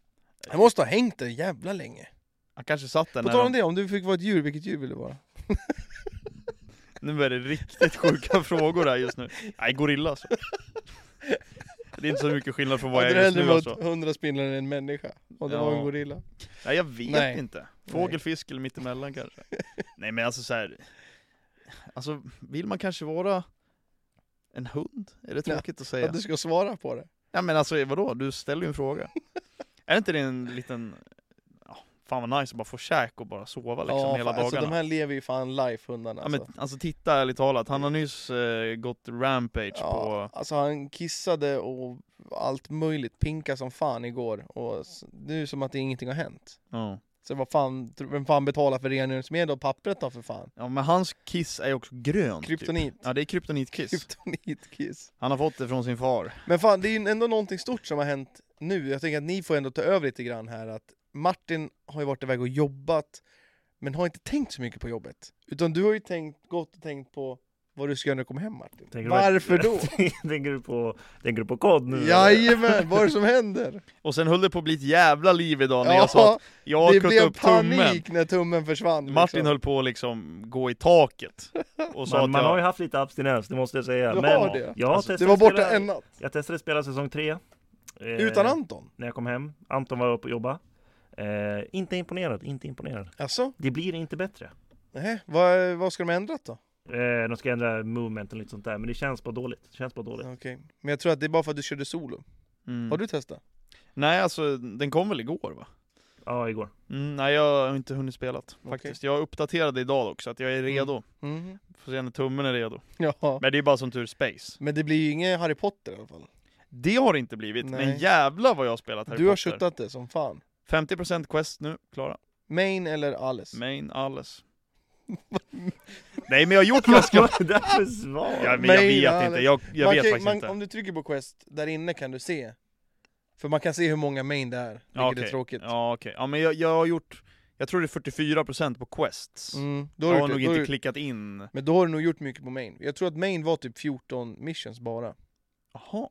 Den måste ha hängt där jävla länge.
Han kanske satt där
På
när
tal om
de...
det, om du fick vara ett djur, vilket djur vill du vara?
Nu är det riktigt sjuka frågor här just nu. Nej, gorilla alltså. Det är inte så mycket skillnad från vad jag
Hade
är
du
just
hellre
nu
varit
alltså.
hundra spindlar än en människa? Och det var
Ja.
en gorilla?
Nej, jag vet
Nej.
inte. Fågel, fisk eller mittemellan kanske. Nej, men alltså så här. Alltså, vill man kanske vara en hund? Är det
Ja.
tråkigt att
Att
säga?
du ska svara på det?
Ja men alltså vadå, du ställer ju en fråga. är det inte det en liten, ja, fan vad nice att bara få käk och bara sova liksom
ja,
hela
fan, alltså,
dagarna?
de här lever ju fan life hundarna
Ja,
alltså.
men, alltså titta ärligt talat, han har nyss eh, gått rampage
Ja,
på...
alltså han kissade och allt möjligt, pinka som fan igår och s- nu är det som att det ingenting har hänt.
Ja.
Så vad fan, tro- vem fan betalar för rengöringsmedel och pappret då för fan?
ja men hans kiss är ju också grön Typ.
Kryptonit.
Ja det är kryptonitkiss.
Kryptonitkiss.
Han har fått det från sin far.
Men fan, det är ju ändå någonting stort som har hänt nu. Jag tänker att ni får ändå ta över lite grann här att Martin har ju varit iväg och jobbat men har inte tänkt så mycket på jobbet. Utan du har ju tänkt, gått och tänkt på vad du ska göra när du kommer hem Martin.
Tänker du
Varför då?
tänker, du på, tänker du på kod nu?
Jajamän, vad är det som händer?
Och sen höll det på att bli ett jävla liv idag när
Ja,
jag sa att jag har
det
kutt
blev
upp
panik liksom.
tummen.
när tummen försvann.
Martin
liksom.
höll på att liksom gå i taket. Och sa
Man,
att
man
jag...
har ju haft lite abstinens, det måste jag säga.
Du
men
har det?
Jag, har
Alltså,
testat
Det var borta
spela,
en natt,
Jag testade spela säsong 3. Eh,
utan Anton.
När jag kom hem. Anton var uppe och jobba. Eh, inte imponerad, inte imponerad.
Alltså,
Det blir inte bättre.
nej, vad, vad ska de ha ändrat då?
Eh, de ska ändra movement och lite sånt där, men det känns bara dåligt. Det känns bara dåligt.
Okej. Men jag tror att det är bara för att du körde solo.
Mm.
Har du testat?
Nej alltså, den kom väl igår va?
Ja, igår.
Mm, nej jag har inte hunnit spela
Okej.
faktiskt. Jag uppdaterade idag dock så att jag är redo.
Mhm.
Får se när tummen är redo.
Ja.
Men det är bara som tur space.
Men det blir ju ingen Harry Potter i alla fall.
Det har det inte blivit, men
Nej.
jävla vad jag har spelat Harry
Du har
Potter.
köttat det som fan.
50% quest nu, klara.
Main eller Alice?
Main, alles. Nej men jag har gjort ganska...
Vad är det där för
Ja,
svar?
men jag
Main,
vet
alles.
inte, jag, jag
Man
vet
kan,
faktiskt
man,
inte.
Om du trycker på Quest, där inne kan du se. För man kan se hur många main det är, vilket
Ja,
är
okej.
tråkigt.
Ja okej, ja men jag, jag har gjort... Jag tror det är 44% på quests.
Mm, då har
Jag
du
har nog
gjort det. Då har
inte
du-
klickat in...
Men då har du nog gjort mycket på main. Jag tror att main var typ 14 missions bara.
Jaha.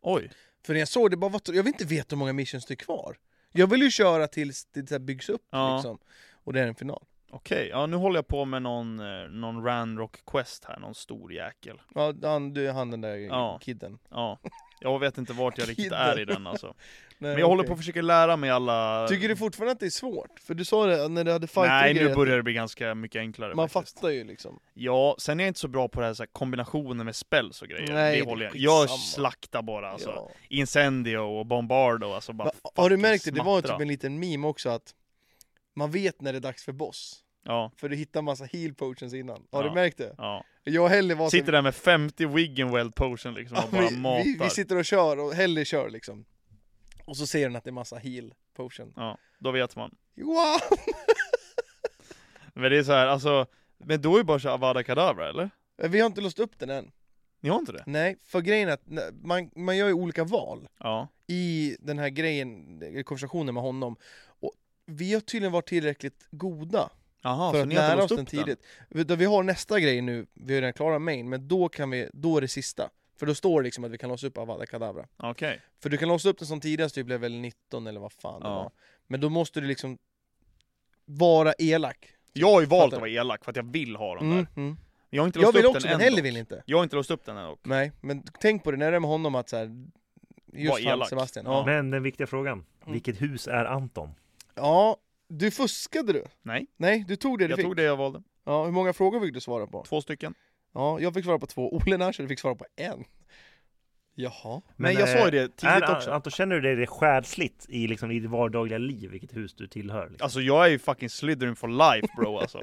Oj.
För när jag såg det, bara, vad, jag vill inte veta hur många missions det är kvar. Jag vill ju köra tills det så här byggs upp
Ja.
liksom. Och det är en final.
Okej, ja nu håller jag på med någon, eh, någon Ranrock Quest här, någon stor jäkel.
Ja, han, du är han den där
Ja.
kidden.
Ja. Jag vet inte vart jag riktigt
Kidden.
är i den alltså.
Nej,
Men jag håller
okej.
på att försöka lära mig alla...
Tycker du fortfarande att det är svårt? För du sa det när du hade fight
Nej,
trigger,
nu börjar det bli ganska mycket enklare
Man
faktiskt.
fattar ju liksom.
Ja, sen är jag inte så bra på det här, så här kombinationen med spells och grejer.
Nej,
det
det
håller jag.
är
Jag
skitsamma.
slaktar bara alltså.
Ja.
Incendio och Bombardo alltså bara
Men har du
fucking
märkt det? Det var
smattra.
typ en liten meme också att man vet när det är dags för boss.
Ja,
För du hittar massa heal potions innan. Har
Ja.
du märkt det?
ja. typ.
Jag och Helle var så-
Sitter där med 50 Wiggen Weld Potion liksom och bara
vi,
matar.
vi, vi sitter och kör och Helle kör liksom. Och så ser den att det är massa heal potion.
Ja, då vet man.
Wow!
Men det är så här, alltså, men då är det bara så här Avada Kedavra eller?
Vi har inte låst upp den än.
Ni har inte det?
Nej, för grejen är att när- man, man gör ju olika val
Ja.
i den här grejen, eh, konversationen med honom. Och vi har tydligen varit tillräckligt goda
Jaha,
för
så
att
ni har inte
lära oss
låst
den,
upp den?
tidigt. Utan vi har nästa grej nu, vi har redan klarat main, men då, kan vi, då är det sista. För då står det liksom att vi kan låsa upp Avada Kedavra.
Okej.
För du kan låsa upp den som tidigast typ level 19 eller vad fan
Ja.
det var. Men då måste du liksom vara elak.
Jag har ju valt
Fattar.
att vara elak för att jag vill ha dem
Mm,
där.
mm.
Jag har inte låst
Jag vill
upp
också,
den
men
än
Helle
dock.
vill inte.
Jag har inte låst upp den än dock.
Nej, men tänk på det när du är med honom att så här, just
Var
han
elak.
Sebastian.
Ja.
Ja. Mm.
Men den viktiga frågan. Vilket hus är Anton?
ja, Du fuskade du?
Nej.
Nej, du tog det du
Jag
fick?
tog det jag valde.
Ja, hur många frågor fick du svara på?
Två stycken.
Ja, jag fick svara på två. Ole Nasher fick svara på en. Jaha.
Men, jag sa ju
eh,
det tidigt
är,
också.
Anton, känner du dig själsligt i, liksom, i ditt vardagliga liv, vilket hus du tillhör? Liksom?
Alltså jag är ju fucking Slytherin for life bro alltså.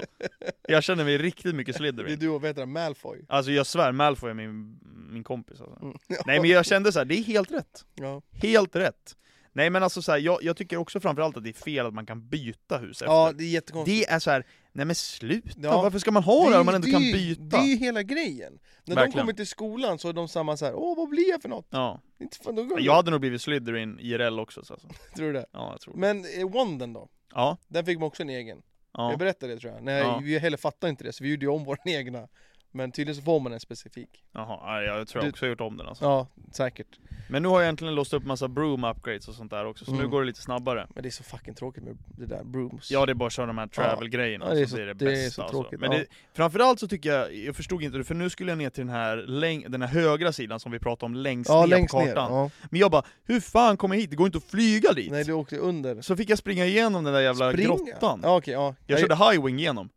Jag känner mig riktigt mycket
Det är
Slytherin.
du och vad heter han, Malfoy?
Alltså jag svär, Malfoy är min, min kompis alltså.
Mm.
Nej men jag kände så här, det är helt rätt.
Ja,
Helt rätt. Nej men alltså så här, jag, jag tycker också framförallt att det är fel att man kan byta hus efter.
ja det är
det
jättekonstigt.
är så här, nej men sluta!
Ja.
Varför ska man ha det,
är
om man ändå
ju-
kan
det är ju-
byta?
Det är ju hela grejen. När de
Verkligen.
kommer till skolan så är de samma så här. åh vad blir jag för något?
Ja.
Inte fan, då går
Jag hade nog blivit Slytherin IRL också så alltså.
tror du det.
Ja, jag tror det.
Men eh, Wanden då?
Ja,
Den fick man också en egen. Jag
ja.
berättade det tror jag. Nej,
Ja.
vi heller fattar inte det så vi gjorde ju om våra egna. Men tydligen så får man en specifik.
Jaha, ja, jag tror
Du-
jag också har gjort om den alltså.
Ja, säkert.
Men nu har jag äntligen låst upp massa broom upgrades och sånt där också, så
Mm.
nu går det lite snabbare.
Men det är så fucking tråkigt med det där brooms.
Ja, det är bara att köra de här travel-grejerna,
Ja, det är
så
så-
det är det
det är
bästa
så
alltså.
tråkigt,
Men
ja.
det, framförallt så tycker jag, jag förstod inte det, för nu skulle jag ner till den här, läng- den här högra sidan som vi pratade om längst
ja
ner
längst
på
ner.
kartan.
Ja.
Men jag bara, hur fan kommer jag hit? Det går inte att flyga dit!
Nej, du åkte under.
Så fick jag springa igenom den där jävla
Springa?
grottan.
Ja, okej, ja.
Jag körde highwing igenom.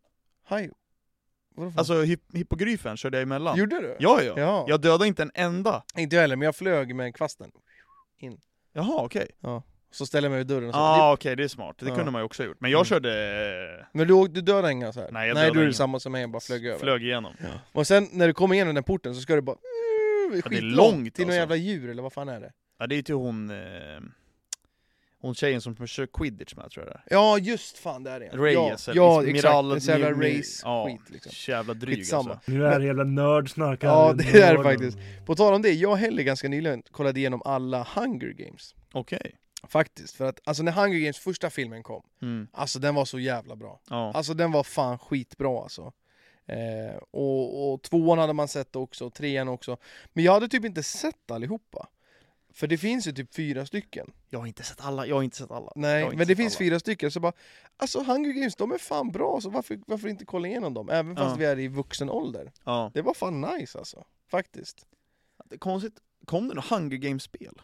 Haj. Vadå för-
Alltså hip- hippogryfen körde jag emellan.
Gjorde du?
Ja, ja.
Ja.
Jag dödade inte en enda.
Inte jag heller, men jag flög med kvasten.
Jaha, okej.
Så ställde jag mig vid dörren och så.
ah, okej, det är smart. Det
Ja.
kunde man ju också ha gjort. Men jag
Mm.
körde... eh,
Men du, åkte- du dödade inga så här?
Nej, jag
Nej
dödade
du är
ingen.
samma som mig, jag bara flög över.
Flög igenom.
Och sen när du kommer igenom den porten så ska du bara... Ja,
det är långt,
Till någon
alltså.
jävla djur eller vad fan är det?
Ja, det är ju till hon... Eh, hon tjejen som kör quidditch med, tror jag det
Ja just fan, där är
är.
jag.
Reyes,
ja,
eller
ja,
liksom,
exakt.
Miral-
En sån jävla
Mi- Mi-
race
ja,
skit liksom.
Jävla dryg
Skitsamma.
alltså.
Nu är det jävla nördsnack här.
Ja, det är det
Nörden.
faktiskt. På tal om det, jag heller ganska nyligen kollade igenom alla Hunger Games.
Okej.
Faktiskt, för att alltså när Hunger Games första filmen kom,
Mm,
alltså den var så jävla bra.
ja.
Alltså den var fan skitbra alltså. Eh, och, och tvåan hade man sett också, och trean också. Men jag hade typ inte sett allihopa. För det finns ju typ fyra stycken.
Jag har inte sett alla, jag har inte sett alla. Jag
Nej,
har inte
men det
sett
finns
alla.
fyra stycken. Så bara, alltså Hunger Games, de är fan bra, så varför, varför inte kolla igenom dem? Även
Ja.
fast vi är i vuxen ålder.
Ja.
Det var fan nice alltså, faktiskt.
Det är Konstigt. Kom det något Hunger Games-spel?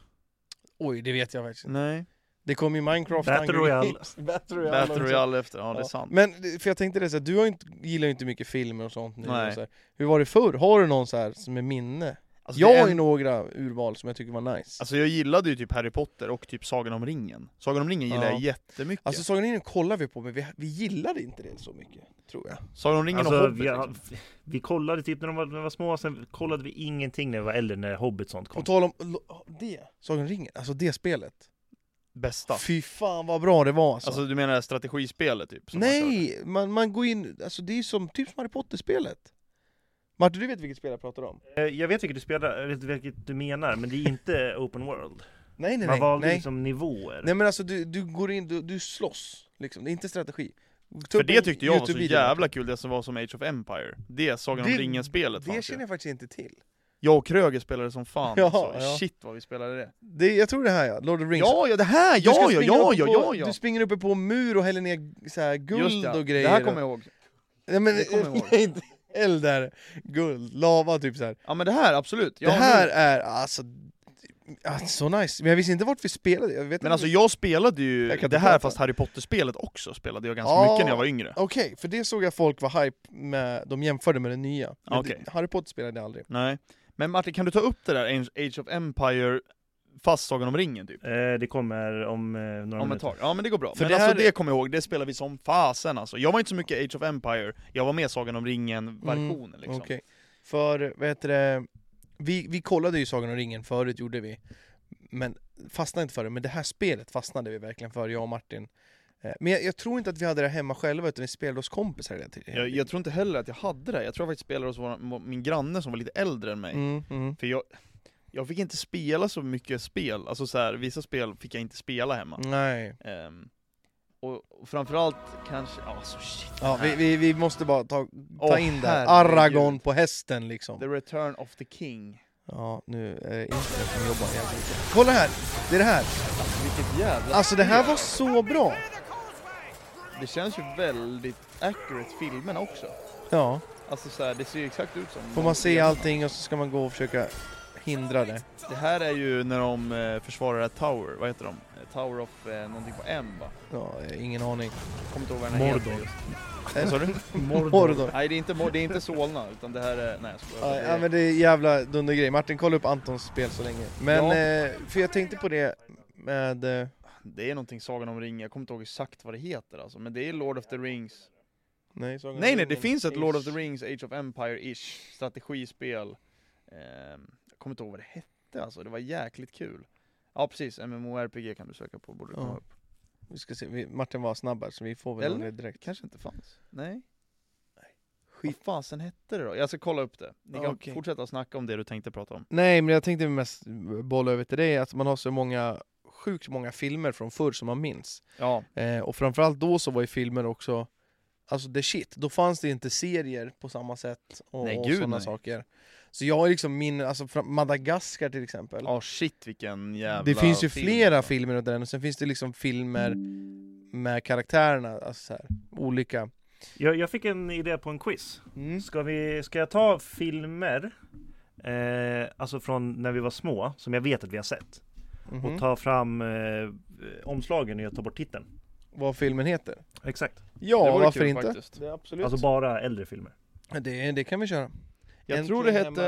Oj, det vet jag faktiskt inte.
Nej.
Det kom ju Minecraft
Battle
Hunger
Royale.
Games. Battle Royale. liksom.
Battle Royale efter, ja det är
Ja.
sant.
Men det- för jag tänkte det så här, du har ju inte, gillar ju inte mycket filmer och sånt nu.
Nej.
Och så här. Hur var det förr? Har du någon så här som är minne?
Alltså,
jag
det är
har
en-
ju några urval som jag tycker var nice. Alltså,
Alltså jag gillade ju typ Harry Potter och typ Sagan om ringen. Sagan om ringen gillar
Ja. Alltså,
jag jättemycket.
Sagan om ringen kollar vi på, men vi, vi gillade inte det så mycket, tror jag.
Sagan om ringen och
Alltså,
Hobbit.
vi,
Liksom.
vi kollade typ när de var, när de var små, sen kollade vi ingenting när vi var äldre, när Hobbit sånt
På
kom.
tal om lo- det, Sagan om ringen, alltså det spelet.
Bästa.
Fy fan vad bra det var alltså.
Alltså du menar det här strategispelet typ? som man
Nej, man, man går in, alltså det är som, typ som Harry Potter-spelet. Martin, du vet vilket spel jag pratar om?
Eh, Jag vet vilket du spelar, eller vilket du menar, men det är inte open world.
Nej, nej,
Man
nej.
valde
nej.
liksom nivåer.
nej men alltså du, du går in, du, du slåss, liksom. Det är inte strategi.
För det tyckte jag var så jävla kul, det som var som Age of Empire. Det Sagan om
Det-
ringen-spelet
Det
fanns ju.
känner
Jag...
jag faktiskt inte till.
och Kröger spelade som fan
Ja,
alltså.
ja.
Shit vad vi spelade det.
Det, jag tror det här ja, Lord of the Rings.
Ja, ja det här!
Du ska
Ja, ja,
springa
ja,
uppe
ja, ja,
på,
ja!
Du springer uppe på en mur och häller ner så här
Just
guld
det,
och grejer.
det här kommer jag ihåg.
ja, men,
det kommer jag ihåg.
inte eld där. Guld, lava typ så här.
Ja men det här, absolut. Ja,
det här
nu-
är alltså... ja, Så nice, men jag visste inte vart vi spelade. Jag vet
Men
inte.
alltså jag spelade ju
Jag kan inte
det här
prata.
fast Harry Potter-spelet också spelade jag ganska
Ja.
mycket när jag var yngre.
Okej, för det såg jag folk var hype med, de jämförde med det nya. Men
Okej.
det- Harry Potter spelade jag aldrig.
Nej. Men Martin, kan du ta upp det där Age- Age of Empire fast Sagan om ringen typ?
Eh, Det kommer om eh, några
Om ett
minuter.
tag. Ja men det går bra.
För
men
det
alltså
här-
det kommer jag ihåg, det spelade vi som fasen alltså. Jag var inte så mycket Age of Empire, jag var med Sagan om ringen-versionen liksom.
Mm, Okej. För, vad heter det, vi, vi kollade ju Sagan om ringen förut, gjorde vi. Men fastnade inte för det, men det här spelet fastnade vi verkligen för, jag och Martin. Eh, Men jag, jag tror inte att vi hade det hemma själva, utan vi spelade hos kompisar hela tiden.
Jag, jag tror inte heller att jag hade det, jag tror jag faktiskt spelade hos vår, min granne som var lite äldre än mig.
mm, mm.
För jag, jag fick inte spela så mycket spel, alltså så här, vissa spel fick jag inte spela hemma.
Nej.
Ehm, och, och framförallt kanske, ja så shit.
Ja, vi, vi, vi måste bara ta, ta
Åh,
in det
herregud.
här. Aragorn på hästen liksom.
The Return of the King.
Ja, nu är det internet som jobbar jävligt mycket. Kolla här! Det är det här!
Vilket jävla...
Alltså det här var så bra!
Det känns ju väldigt accurate filmerna också.
Ja,
Alltså så här, det ser ju exakt ut som...
får man se allting och så ska man gå och försöka hindra det.
Det här är ju när de eh, försvarar ett tower, vad heter de? Tower of eh, någonting på M va?
Ja, eh, ingen aning.
Kommer inte ihåg vad den här heter
Mordor.
just.
Eh?
Vad sa du?
Mordor.
Nej det är inte, Mor- det är inte Solna utan det här är... Nej jag skojar.
Ja,
Det
ja,
är-
men det är jävla dundergrej. Martin, kolla upp Antons spel så länge. Men,
Ja.
eh, för jag tänkte på det med... eh,
Det är någonting Sagan om ringen, jag kommer inte ihåg exakt vad det heter alltså, men det är Lord of the Rings
Nej, Sagan om
Nej nej, det
ringen.
finns ett Lord of the
Ish.
Rings, Age of Empire-ish strategispel Ehm, Jag kommer inte ihåg vad det hette alltså, det var jäkligt kul Ja precis, MMORPG kan du söka på, borde
Ja.
komma upp
Vi ska se, vi, Martin var snabb här, så vi får väl
Eller?
Eller? det direkt.
Det kanske inte fanns? Nej? Skit. Vad fasen hette det då? Jag ska kolla upp det Ni kan
Okej.
fortsätta snacka om det du tänkte prata om
Nej, men jag tänkte mest bolla över till dig att man har så många, sjukt många filmer från förr som man minns.
Ja,
Eh, och framförallt då så var ju filmer också, alltså the shit. Då fanns det inte serier på samma sätt och,
Nej,
och
gud,
sådana
nej.
saker. Så jag har liksom min, alltså från Madagaskar till exempel.
ja shit vilken jävla
det finns ju
film,
flera
alltså.
filmer åt den och sen finns det liksom filmer med karaktärerna, alltså så här, olika.
Jag, jag fick en idé på en quiz.
Mm.
Ska, vi, ska jag ta filmer, eh, alltså från när vi var små, som jag vet att vi har sett, och
mhm.
ta fram eh, omslagen och jag tar bort titeln?
Vad filmen heter.
Exakt.
Det
Ja,
vore
varför
kul
inte?
faktiskt.
Det, absolut.
Alltså bara äldre filmer.
det, det kan vi köra.
Jag tror det hette...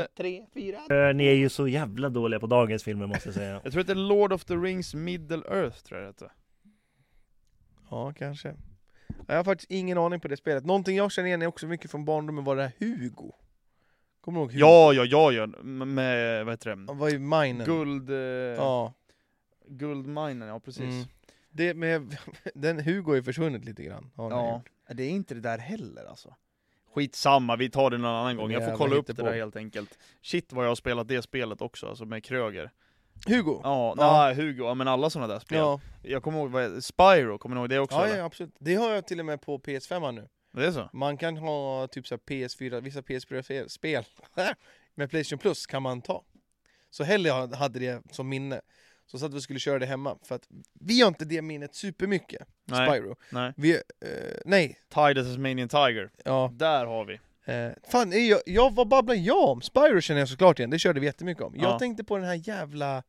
Eh, ni är ju så jävla dåliga på dagens filmer måste jag säga.
Jag tror det hette Lord of the Rings Middle Earth tror jag det hette
Ja, kanske. Jag har faktiskt ingen aning på det spelet. Någonting jag känner igen är också mycket från barndomen var det här Hugo. Kommer du ihåg Hugo?
Ja, ja, ja, ja, M- med, vad heter
Han
det?
var ju minen.
Guld, eh,
Ja.
guldminen, ja precis.
Mm. Det med, den Hugo är ju försvunnit lite grann. har den
Ja.
gjort.
Det är inte det där heller alltså. Skitsamma, vi tar det någon annan gång. Jag får
Jävla
kolla upp det
hittepå.
där helt enkelt. Shit vad jag har spelat det spelet också, alltså med Kröger.
Hugo?
Ja,
Ja.
nej, Hugo, ja, men alla sådana där spel.
Ja.
Jag kommer ihåg, vad, Spyro, kommer ni ihåg det också?
Ja,
eller?
ja, absolut. Det har jag till och med på PS5 här nu.
Det är så?
Man kan ha typ så här PS4, vissa PS4-spel med Playstation Plus kan man ta. Så Helly ha- hade det som minne. Så satt vi och skulle köra det hemma, för att vi har inte det minnet supermycket,
Nej,
Spyro.
nej.
Vi, eh, nej,
Tidus as Manian Tiger.
ja.
Där har vi.
Eh, fan, är jag, jag, vad babblar jag om? Spyro känner jag såklart igen, det körde vi jättemycket om. Jag
Ja.
tänkte på den här jävla...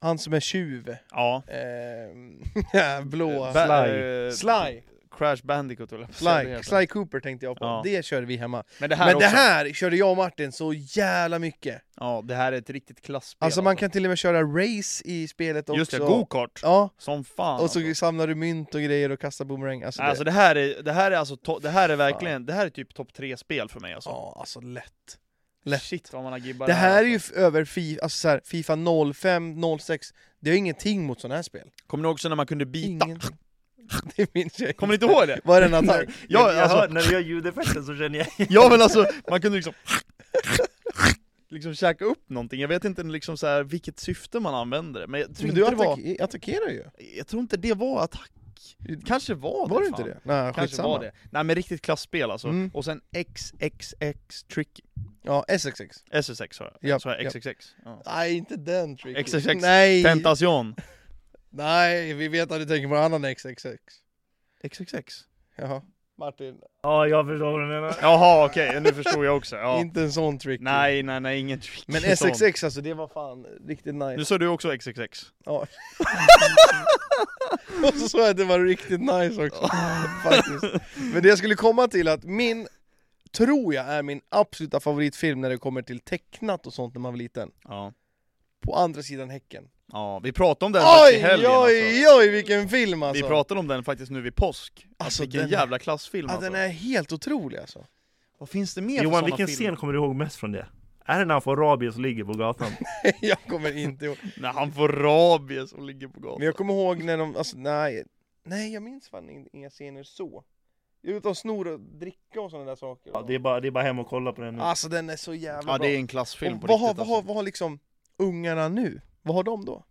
Han som är tjuv.
Ja.
Eh, blå...
Ba-
Sly.
eh,
Sly,
Crash Bandicoot höll jag på att säga. Det
Sly,
heter.
Sly Cooper tänkte jag på.
Ja.
Det körde vi hemma.
Men det här
Men
också.
det här körde jag och Martin så jävla mycket.
Ja, det här är ett riktigt klasspel.
Alltså man kan till och med köra race i spelet också.
Just det, go-kart!
Ja,
Som fan
och
alltså.
så samlar du mynt och grejer och kastar boomerang. Alltså,
Alltså
det,
det här är, det här är alltså, to- det här är verkligen, det här är typ topp tre spel för mig alltså.
ja, alltså lätt. lätt.
Shit vad man har gibbar
Det här är ju
alltså.
f- över fi, alltså så här, Fifa 05, 06. Det är ingenting mot sådana här spel.
Kommer ni också när man kunde bita?
Ingenting. Det minns jag
Kommer ni inte ihåg det?
Var det en attack?
Ja,
jag hör,
alltså,
när du gör ljudeffekten så känner jag
ja men alltså, man kunde liksom Liksom käka upp någonting, jag vet inte liksom så här, vilket syfte man använde det, men jag tror,
Men
inte
du
det var,
attack- attackerar ju.
jag tror inte det var attack Kanske var det
Var det inte
fan.
det? Nej,
Kanske
skitsamma.
var det. Nej men riktigt klasspel alltså,
Mm.
och sen XXX Tricky
Ja, SXX.
SSX sa jag,
Japp,
sa jag
japp.
XXX? Ja.
Nej, inte den tricky.
XXX,
Nej.
Tentacion
Nej, vi vet att du tänker på en annan XXX.
XXX?
Jaha. Martin,
Ja, jag förstår vad du menar.
Jaha okej, nu förstod jag också. Ja.
inte en sån tricky.
Nej nej nej, ingen trick.
Men
Sån.
SXX alltså, det var fan riktigt
Nu
nice.
sa du också XXX.
Ja. Och så såg jag att det var riktigt nice också. Faktiskt. Men det jag skulle komma till att min, tror jag är min absoluta favoritfilm när det kommer till tecknat och sånt när man var liten.
Ja.
På andra sidan häcken.
Ja, vi pratade om den faktiskt i
Oj,
helgen
oj,
alltså.
oj vilken film alltså!
Vi pratade om den faktiskt nu vid påsk. Alltså,
Alltså,
Vilken
den-
jävla klassfilm
ja,
alltså.
den är helt otrolig alltså.
Vad finns det mer
Johan,
för såna
vilken
filmer?
scen kommer du ihåg mest från det? Är det när han får rabies och ligger på gatan?
jag kommer inte ihåg.
När han får rabies och ligger på gatan.
Men jag kommer ihåg när de, alltså nej, nej jag minns fan in- inga scener så. Utan snor och dricka och sådana där saker.
Ja, det, är bara, det är bara hem och kolla på den nu.
Alltså den är så jävla
Ja,
bra.
det är en klassfilm
och
på
vad,
riktigt
har, vad, har,
alltså.
vad har liksom ungarna nu? Vad har de då?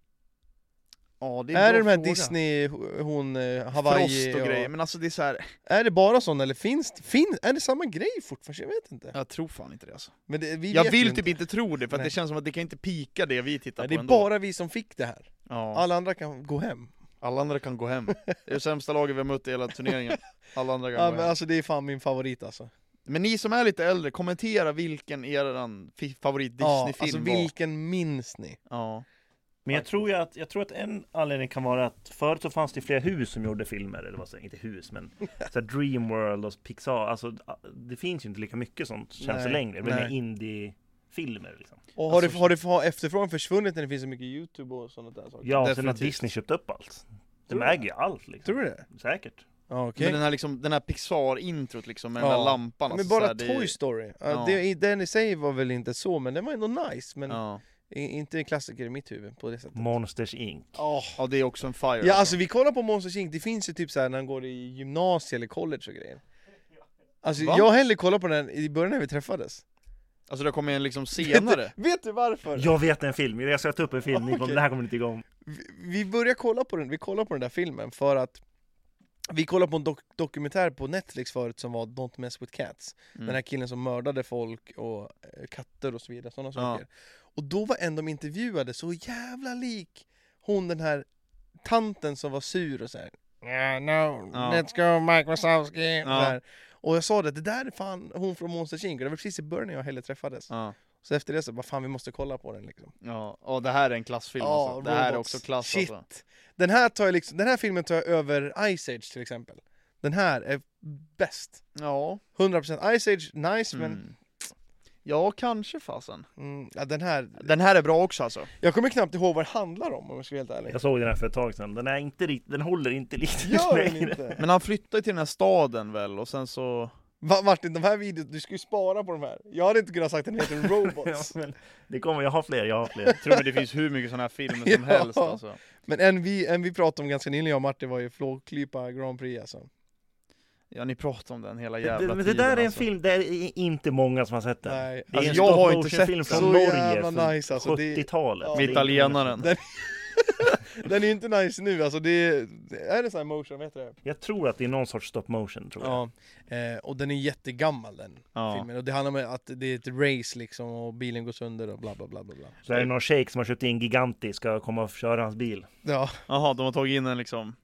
Ja, det
Är,
är, en bra
det de här
fråga.
Disney, ho- hon, eh, Hawaii
Frost och grejer, men alltså det är så här.
Är det bara sådana eller finns, finns, är det samma grej fortfarande? Jag vet inte.
jag tror fan inte det alltså.
Men det, vi
Jag
vet
vill
ju
typ inte tro det, för att
Nej.
det känns som att det kan inte pika det vi tittar
Nej,
på
det är
ändå.
bara vi som fick det här.
Ja.
Alla andra kan gå hem.
Alla andra kan gå hem. Det är det sämsta laget vi har mött i hela turneringen. Alla andra kan
Ja,
gå
men
hem.
alltså det är fan min favorit alltså.
Men ni som är lite äldre, kommentera vilken er favorit
Ja,
Disney-film
alltså
var.
vilken minns ni?
Ja.
Men jag tror ju att, jag tror att en anledning kan vara att förut så fanns det flera hus som gjorde filmer, eller vad säger jag, inte hus men så här Dreamworld och Pixar, alltså det finns ju inte lika mycket sånt känns det
Nej,
längre, det blir mer
nej.
indie-filmer liksom.
Och har,
Alltså-
det, har, det, har efterfrågan försvunnit när det finns så mycket YouTube och sådana där saker?
Ja, och sen att
Definitivt.
Disney köpte upp allt. De
Tror du
äger ju allt liksom.
Tror du det?
Säkert.
Ja, okej.
Men den här, liksom, den här Pixar-introt liksom med den
Ja.
där lampan
Men
alltså,
bara
så här, det är-
Toy Story. Ja.
Ja.
Det, den i sig var väl inte så, men den var ändå nice. Men
Ja.
i- inte en klassiker i mitt huvud på det sättet.
Monsters Inc.
Åh.
ja, det är också en fire
Ja, alltså vi kollar på Monsters Inc. Det finns ju typ så här när han går i gymnasie eller college och grejer. Alltså
Va?
jag har hellre kollat på den i början när vi träffades.
Alltså det kommer en liksom senare
Vet du varför?
Jag vet en film, jag ska ta upp en film, ni kommer,
Okej.
det här kommer ni inte igång.
vi, vi börjar kolla på den, vi kollar på den där filmen för att vi kollade på en dok- dokumentär på Netflix förut som var Don't mess with cats
Mm.
Den här killen som mördade folk och eh, katter och så vidare, sådana saker Och då var en de intervjuade så jävla lik hon den här tanten som var sur och så här. Yeah, no,
Ja.
let's go Mike Wazowski
Ja.
där. Och jag sa det, det där är fan hon från Monsters Inc. Och Det var precis i början när jag och Helle träffades
Ja,
Så efter det så bara fan vi måste kolla på den liksom
ja, ja det här är en klassfilm alltså. Det här är
robots.
också klass
Shit.
alltså.
Den, här tar jag liksom, den här filmen tar jag över Ice Age till exempel. Den här är bäst.
Ja,
100% Ice Age, nice men
mm. Ja, kanske fasen.
mm, ja, den här...
Den här är bra också alltså.
Jag kommer knappt ihåg vad det handlar om om jag ska vara helt ärlig.
Jag såg den här för ett tag sedan, den, är inte, rikt- den håller inte riktigt
Gör den
längre.
inte!
Men han flyttar ju till den här staden väl, och sen så...
Va, Martin, de här videorna, du ska ju spara på de här. Jag hade inte kunnat sagt att den heter
Ja,
Robots.
men det kommer, jag har fler, jag har fler.
Jag tror mig det finns hur mycket sådana här filmer som
Ja.
helst alltså.
Men en vi, en vi pratade om ganska nyligen, jag och Martin, var ju Flåklypa Grand Prix alltså.
Ja, ni pratar om den hela
Det,
jävla
det, men det
tiden
där är en
alltså.
film, det är inte många som har sett den.
Nej.
Det är
Alltså,
en
jag har
stop
inte
motion-film
sett den.
från
Så
Norge
jävla
från
nice, alltså. Det-
70-talet.
Ja.
Det är
Med
inte-
italienaren.
Den är inte nice nu alltså, det är... Är det sån här motion, vad heter det?
Jag tror att det är någon sorts stop motion tror jag.
Ja, eh, och den är jättegammal den
Ja.
filmen. Och det handlar om att det är ett race liksom och bilen går sönder och bla bla bla bla. bla.
Så är det någon shejk som har köpt in Giganti ska komma och köra hans bil.
Ja,
Jaha, de har tagit in en liksom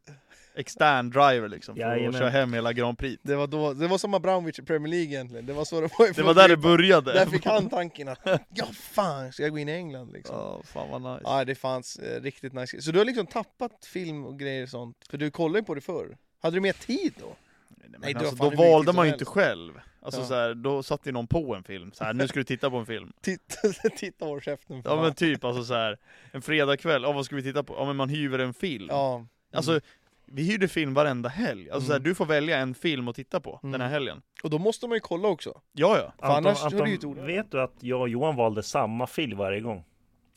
extern driver liksom för
Jajamän.
att köra hem hela Grand Prix.
det var då, det var som Abramovich i Premier League egentligen. Det var så det var i
Det var där det
Florida.
började.
Där fick han tanken att ja fan ska jag gå in i England liksom. Ja.
Ja, fan vad nice.
Nej, det fanns eh, riktigt nice Så du har liksom tappat film och grejer och sånt? För du kollade ju på det förr. Hade du mer tid då?
Nej,
Nej,
men alltså,
du har fan
då
hur mycket
valde man
tid som
ju inte
helst.
själv. Alltså
Ja.
så här, då satte ju någon på en film, så här, nu ska du titta på en film.
Titta, titta håll käften för
Ja men
fan.
typ alltså så här, en fredagkväll, ja vad ska vi titta på? Ja men man hyr en film.
ja.
Alltså, vi hyrde film varenda helg. Alltså så här,
Mm.
du får välja en film att titta på
Mm.
den här helgen.
Och då måste man ju kolla också.
Ja ja.
För annars har du ju ett ord.
vet du att jag och Johan valde samma film varje gång?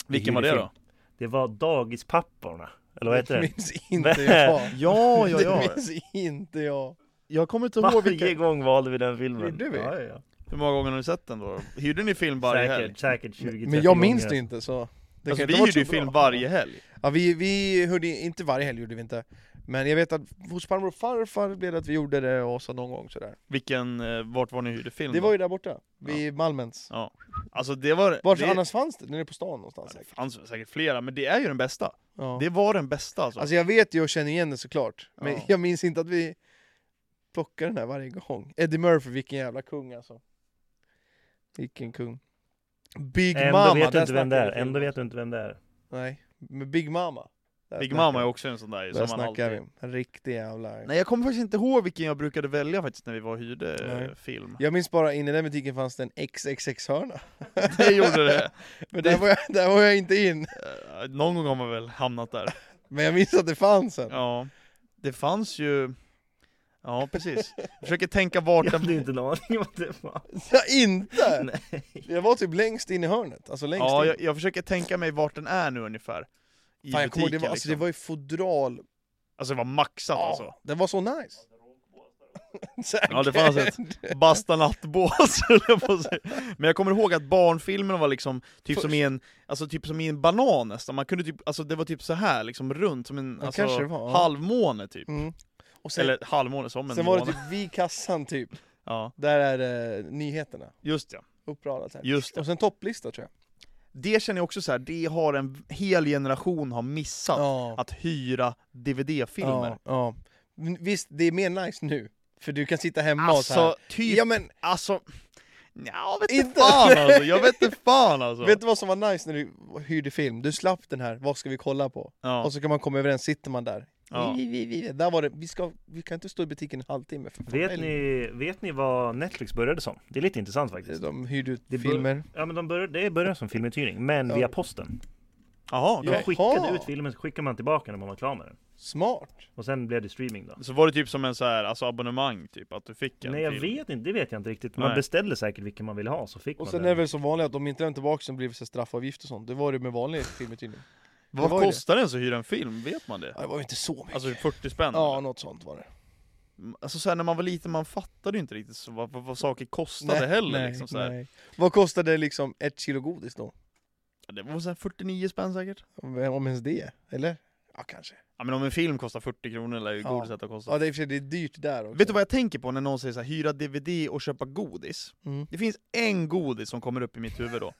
Vilken var det då?
Det var Dagispapporna. Eller vad heter den?
minns inte jag.
Ja,
Det minns inte jag.
Jag kommer inte ihåg
Varje
vilken...
gång valde vi den filmen.
Gjorde vi?
Ja, ja,
Hur många gånger har du sett den då? Hyrde ni film
ja.
varje helg?
Säkert, säkert 20
Men jag minns det inte så... Det
Alltså,
kan inte
vi
ha varit
hyrde ju
så bra.
film varje helg.
Ja, vi, vi hörde inte varje helg gjorde vi inte. Men jag vet att hos farmor och farfar blev det att vi gjorde det och så någon gång sådär.
Vilken, eh, vart var ni hyrde film?
Det
då?
var ju där borta, vid Malmens.
Ja. Alltså det var...
Vart
det...
annars fanns det? Nere på stan någonstans
Det
säkert.
fanns säkert flera, men det är ju den bästa.
Ja.
Det var den bästa alltså.
Alltså jag vet ju och känner igen det såklart. Men
Ja.
jag minns inte att vi plockar den här varje gång. Eddie Murphy, vilken jävla kung alltså. Vilken kung. Big
Ändå
Mama,
vet du
där
inte vem det
snackar
är.
vi film.
Ändå vet du inte vem det är.
Nej, men Big Mama. Där
Big
snackar
Mama
vi.
är också en sån där
Där
som man
snackar
alltid...
vi. En riktig jävla...
Nej jag kommer faktiskt inte ihåg vilken jag brukade välja faktiskt när vi var och hyrde eh,
Nej.
film.
Jag minns bara inne i den butiken fanns det en XXX-hörna.
Det gjorde det.
Men där var, jag, där var jag inte in.
Eh, Någon gång har man väl hamnat där.
Men jag minns att det fanns en.
Ja. Det fanns ju... Ja precis. Jag försöker tänka vart
Jag
den...
hade ju inte en aning vad det var.
Ja, inte! Jag var typ längst in i hörnet. Alltså längst
Ja,
in.
jag, jag försöker tänka mig vart den är nu ungefär. I
Fan, jag kommer
butiken
ihåg, det, var, alltså,
liksom.
det var ju fodral.
alltså det var maxat alltså.
Ja, det var så nice. Säkert.
Ja, det fanns ett basta nattbås höll jag på att säga. Men jag kommer ihåg att barnfilmerna var liksom typ som i en, alltså typ som i en banan nästan, man kunde typ, alltså det var typ så här liksom runt som en
Ja,
alltså,
kanske det var, ja.
halvmåne typ.
Mm. Och sen,
Eller halvmåne som en
sen var
måne.
det typ vid kassan typ.
Ja,
Där är det nyheterna
just ja.
uppradat. Här.
Just det.
Och sen topplista tror jag.
Det känner jag också så här, det har en hel generation har missat.
Ja.
Att hyra DVD-filmer.
Ja, ja. Men Visst, det är mer nice nu. För du kan sitta hemma och så
Alltså,
här.
typ,
Ja men
alltså... Ja, vet
Inte.
inte fan alltså, jag vet inte fan alltså!
Vet du vad som var nice när du hyrde film? Du slapp den här, vad ska vi kolla på?
ja,
Och så kan man komma överens, sitter man där.
ja.
Vi, vi, vi, vi. Där var det, vi, ska, vi kan inte stå i butiken en halvtimme. För fan,
Vet
eller-
ni, vet ni vad Netflix började som? Det är lite intressant faktiskt.
De hyrde ut
Det är
filmer.
Ja men de började, det började som filmuthyrning, men
Ja.
via posten.
Jaha,
De
okej.
Jaha.
skickade ut filmen, så skickade man tillbaka när man var klar med den.
Smart!
Och sen blev det streaming då.
Så var det typ som en så här, alltså abonnemang typ, att du fick en
Nej jag
film?
vet inte, det vet jag inte riktigt. Man
Nej.
beställde säkert vilken man ville ha, så fick
Och
man
sen är det
den.
väl som vanligt att om inte den tillbaka så blir det så här straffavgift och sånt. Det var det med vanlig filmuthyrning.
Vad
Det var ju
kostar det ens att hyra en film? Vet man det?
Ja, det var ju inte så mycket.
Alltså 40 spänn?
ja,
eller?
något sånt var det.
Alltså så här, när man var liten, man fattade ju inte riktigt så vad, vad, vad saker kostade heller liksom, så här.
nej. Vad kostade liksom ett kilo godis då?
Ja, Det var så här 49 spänn säkert?
Om om ens det? Eller? Ja, kanske.
Ja men om en film kostar 40 kronor lär ju
Ja.
godiset ha kostat
Ja, det är, i och för sig- det är dyrt där också.
Vet du vad jag tänker på när någon säger så här, hyra DVD och köpa godis?
Mm.
Det finns en godis som kommer upp i mitt huvud då.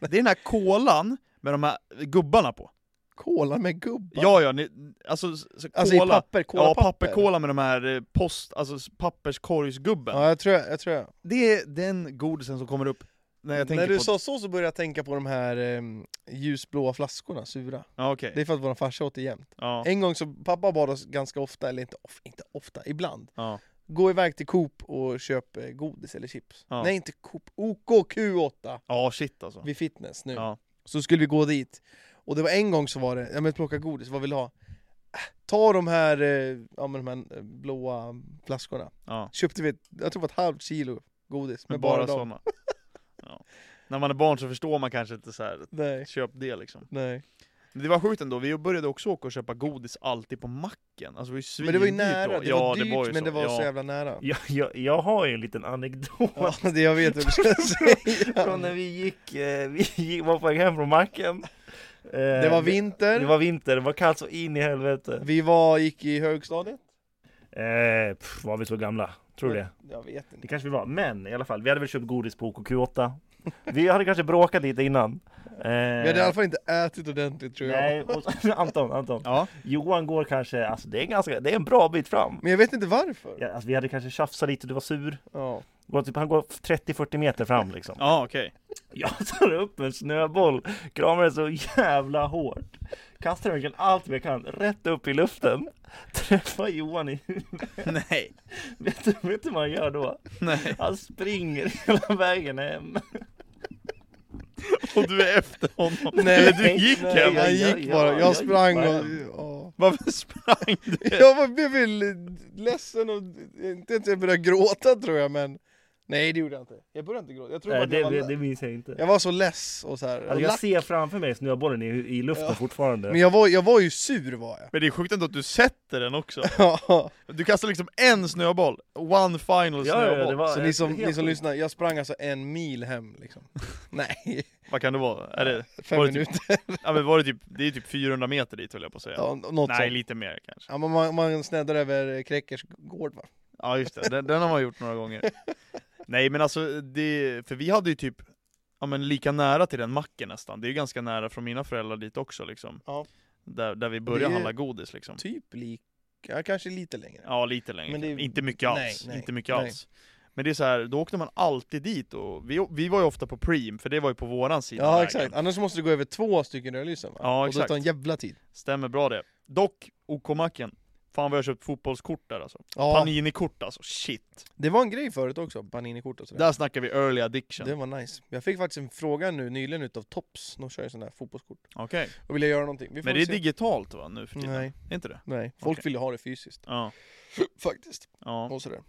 Det är den här kolan med de här gubbarna på.
Kola med gubbar?
Ja, ja, ni, alltså, så, så
alltså
kola.
i papper? Kola
ja, papperkola med de här eh, post, alltså s- papperskorgsgubben.
Ja, jag tror jag, jag tror jag.
Det är den godisen som kommer upp när jag tänker
När du
på...
sa så så började jag tänka på de här ehm, ljusblåa flaskorna, sura.
Ja, okej.
Det är för att vår farsa åt det jämt.
Ja,
En gång så, pappa bad oss ganska ofta, eller inte, of, inte ofta, ibland.
ja.
Gå iväg till Coop och köp eh, godis eller chips.
Ja.
Nej, inte Coop. OKQ8
ja, shit alltså.
vid fitness nu.
Ja.
Så skulle vi gå dit. Och det var en gång så var det, ja men plocka godis, vad vill du ha? Äh, Ta de här, eh, ja men de här eh, blåa flaskorna.
Ja.
Köpte vi, ett, jag tror det var ett halvt kilo godis.
Men
Med
bara
dem.
sådana. Ja. När man är barn så förstår man kanske inte så här.
Nej,
köp det liksom.
nej.
Men det var sjukt ändå, vi började också åka och köpa godis alltid på macken. Alltså det var ju
Men det
svindyrt
var ju nära,
då.
det var dyrt
ju
men det var
ja.
så jävla nära.
Jag, jag, jag har ju en liten anekdot.
Ja, det jag vet vad du ska säga.
Från när vi gick, eh, vi gick, var på väg hem från macken. Eh,
Det var
Det
vinter,
var vinter, det var kallt så in i helvete.
vi var, gick i högstadiet.
Eh, pff, var vi så gamla? Tror du det?
Jag vet
Det
inte.
kanske vi var, men i alla fall, vi hade väl köpt godis på OKQ8 Vi hade kanske bråkat lite innan eh,
Vi hade i alla fall inte ätit ordentligt tror jag.
Nej, och, Anton, Anton
Ja.
Johan går kanske, alltså det är, ganska, det är en bra bit fram
Men jag vet inte varför.
ja, alltså, Vi hade kanske tjafsat lite, du var sur
Ja.
Går typ, Han går 30-40 meter fram liksom
Ja okej.
Jag tar upp en snöboll, kramar den så jävla hårt Kastar den verkligen allt vad jag kan, rätt upp i luften Träffar Johan i
Nej.
Vet du, vet du vad han gör då?
Nej.
Han springer hela vägen hem
Och du är efter honom.
Nej,
Eller du gick
Nej,
hem.
ja,
jag
ja,
gick
ja,
bara,
jag
jag
gick
sprang
bara
och...
hem.
Ja.
Varför sprang du?
Jag var, blev väl ledsen och inte ens jag började gråta tror jag men Nej det gjorde jag inte, jag började inte gråta, jag tror
Nej,
att jag
det,
var,
det, det minns jag inte
jag var så less och så här, och
Alltså jag
lack.
ser framför mig snöbollen i, i luften
Ja.
fortfarande.
Men jag var, jag var ju sur var jag
Men det är sjukt ändå att du sätter den också.
Ja.
Du kastar liksom en snöboll. One final
Ja, ja,
snöboll.
det var
Så ni som,
helt
ni som
sjukt.
lyssnar, jag sprang alltså en mil hem liksom Nej,
Vad kan det vara? Är det,
fem
Var det typ-
minuter,
ja, men var det, typ, det är typ 400 meter dit höll jag på att säga.
ja, något
Nej,
sånt
lite mer kanske.
Ja men man, man sneddar över Kräckers gård va?
Ja just det, den, den har man gjort några gånger. Nej men alltså, det, för vi hade ju typ ja, men lika nära till den macken nästan. Det är ju ganska nära från mina föräldrar dit också liksom.
Ja.
Där, där vi började
Det är-
handla godis liksom.
Typ lik, ja, kanske lite längre
Ja lite längre,
Men det är-
inte mycket
nej,
alls.
nej,
inte mycket
nej.
alls. Men det är så här, då åkte man alltid dit och vi, vi var ju ofta på Preem, för det var ju på våran sida av
Ja
vägen.
exakt, annars måste du gå över två stycken rödlysen va?
Ja,
och det
exakt.
tar en jävla tid
Stämmer bra det. Dock, OK-macken. Fan vad jag har köpt fotbollskort där alltså.
Ja,
Panini-kort alltså, shit.
det var en grej förut också, Panini-kort och sådär
Där snackar vi early addiction.
Det var nice Jag fick faktiskt en fråga nu nyligen utav Tops, de kör ju sådana här fotbollskort
Okej.
Och ville göra någonting, vi får
Men det
väl
är
se.
digitalt va, nu för tiden?
Nej,
Är inte det?
nej, folk
Okej.
vill ju ha det fysiskt
Ja.
Faktiskt,
Ja. Mm,
och sådär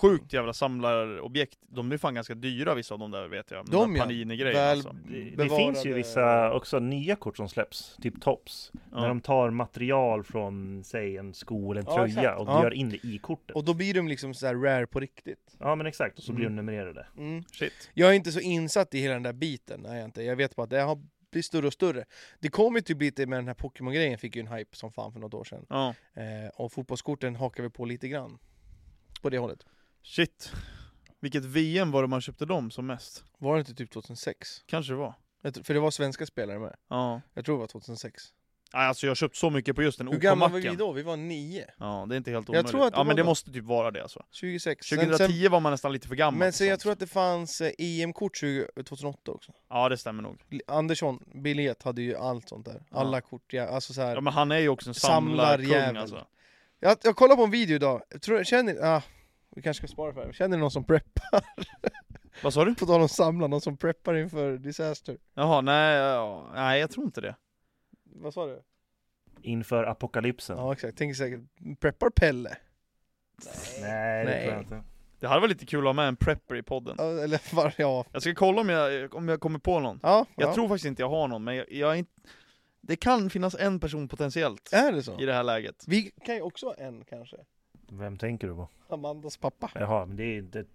Sjukt jävla samlarobjekt. De är fan ganska dyra vissa av de där vet jag.
De,
där
ja.
Panini-grejerna
Väl-
alltså.
det, det
bevarade-
finns ju vissa också nya kort som släpps, typ tops. När
Ja.
de tar material från, säg en sko eller en
Ja,
tröja
exakt.
och
Ja.
gör in det i kortet.
Och då blir de liksom så här rare på riktigt
Ja men exakt, och så blir de
Mm.
numrerade.
mm.
Shit.
Jag är inte så insatt i hela den där biten, nej jag inte Jag vet bara att det har blivit större och större Det kom ju typ lite med den här Pokémon-grejen, fick ju en hype som fan för något år sedan
Ja.
eh, Och fotbollskorten hakar vi på lite grann På det hållet
Shit. Vilket VM var det man köpte dem som mest?
Var det inte typ 2006?
Kanske det var.
Jag tror- För det var svenska spelare med
Ja.
Jag tror det var 2006
Nej, Alltså jag har köpt så mycket på just den
Hur gamla var vi
OK-macken.
då? Vi var nio.
Ja, det är inte helt omöjligt.
tror att det
ja, men
var
det
då.
måste typ vara det alltså.
26. Sen-
2010
sen,
var man nästan lite för gammal.
men
för
sen jag
sånt.
tror att det fanns eh, EM-kort 20 2008 också.
Ja, det stämmer nog.
L- Andersson, Biljet hade ju allt sånt där.
Ja.
Alla kort, ja, alltså så här.
Ja, men han är ju också en
Samlarjävel.
samlarkung alltså.
Jag, jag kollade på en video idag, tror, känner ni... Ah, vi kanske ska spara för det här. Känner ni någon som preppar?
Vad sa du?
På tal om samla, någon som preppar inför disaster.
Jaha, nej, ja, nej jag tror inte det.
Vad sa du?
Inför apokalypsen.
Ja exakt, tänker säkert, preppar Pelle?
Nej, det
Nej.
tror jag inte.
Det hade varit lite kul att ha med en prepper i podden.
Ja, Eller var, ja.
Jag ska kolla om jag, om jag kommer på någon.
Ja,
Jag
ja.
tror faktiskt inte jag har någon, men jag, jag är inte... Det kan finnas en person potentiellt
Är det så?
i det här läget.
Vi kan ju också ha en kanske.
Vem tänker du på?
Amandas pappa.
Jaha, men det är, det,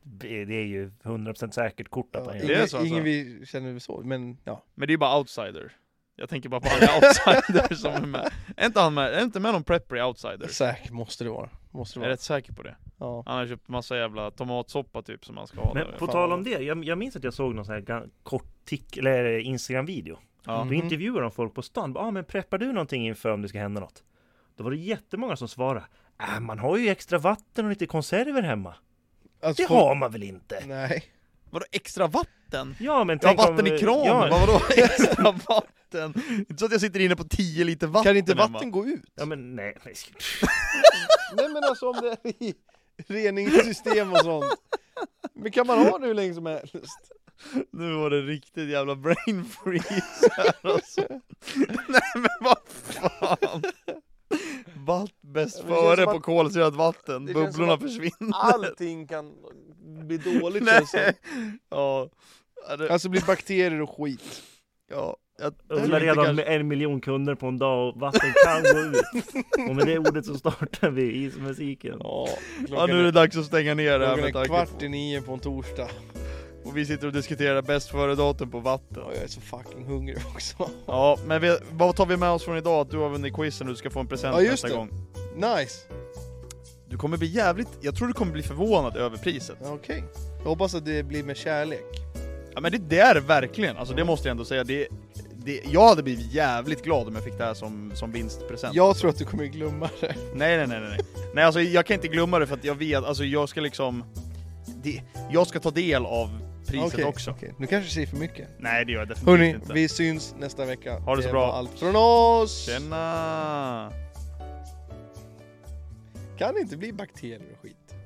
det är ju 100% säkert kort att
Ja,
han
det
gör
är
ingen,
så alltså.
ingen vi känner så, men ja.
Men det är ju bara outsider. Jag tänker bara på alla outsider som är med. Är inte, han med, är inte med någon prepper i outsider?
Säkert måste det vara. Måste det
Jag är
vara.
rätt säker på det.
Ja.
Han har köpt massa jävla tomatsoppa typ som han ska ha
Men
där.
på
Fan,
tal
vad-
om det, jag, jag minns att jag såg någon sån här ga- kort tick, eller Instagram-video.
Ja.
Då intervjuar de folk på stan. Ja, ah, men preppar du någonting inför om det ska hända något? Då var det jättemånga som svarade. Äh, man har ju extra vatten och lite konserver hemma.
Alltså,
Det
folk-
har man väl inte?
Nej.
Vadå extra vatten?
Ja, men
Jag
tänk
har vatten
om, eh,
i kran!
Ja,
Vad Vadå extra vatten? Inte så att jag sitter inne på 10 liter vatten
Kan inte
hemma.
vatten gå ut?
ja, men nej. nej.
Nej men alltså om det är i reningssystem och sånt. Men kan man ha det hur länge som helst?
Nu var det riktigt jävla brain freeze här alltså. Nej men vad fan! Vatt bäst
Det känns som
före
att-
på kolsyrat vatten,
Det känns som
bubblorna
att-
försvinner.
Allting kan bli dåligt
Nej. Ja. Ja, det-
Alltså bli bakterier och skit.
ja. Jag
Ulla
tänkte
redan
kanske-
med en miljon kunder på en dag och vatten kan gå ut. Och med det ordet så startar vi ismusiken.
Ja,
Ja nu är det dags att stänga ner det här
klockan
med
är
tanke
kvart i nio på en torsdag.
Och vi sitter och diskuterar bäst före-datum på vatten.
Ja, jag är så fucking hungrig också.
Ja, men vi, vad tar vi med oss från idag? Att du har vunnit quizen och du ska få en present
Ja, just
nästa
det.
gång.
Nice!
Du kommer bli jävligt, jag tror du kommer bli förvånad över priset.
Ja, Okej. Jag hoppas att det blir med kärlek.
Ja men det, det är det verkligen, alltså det måste jag ändå säga. Det, det, jag hade blivit jävligt glad om jag fick det här som, som vinstpresent.
Jag tror att du kommer glömma det.
Nej nej nej nej. nej. Nej alltså jag kan inte glömma det för att jag vet, alltså jag ska liksom... Det, jag ska ta del av priset
Okej,
också.
okej. Nu kanske jag säger för mycket.
Nej det gör jag definitivt
Hörni,
inte.
vi syns nästa vecka.
Ha det så bra.
var allt från oss!
Tjena!
Kan det inte bli bakterier och skit?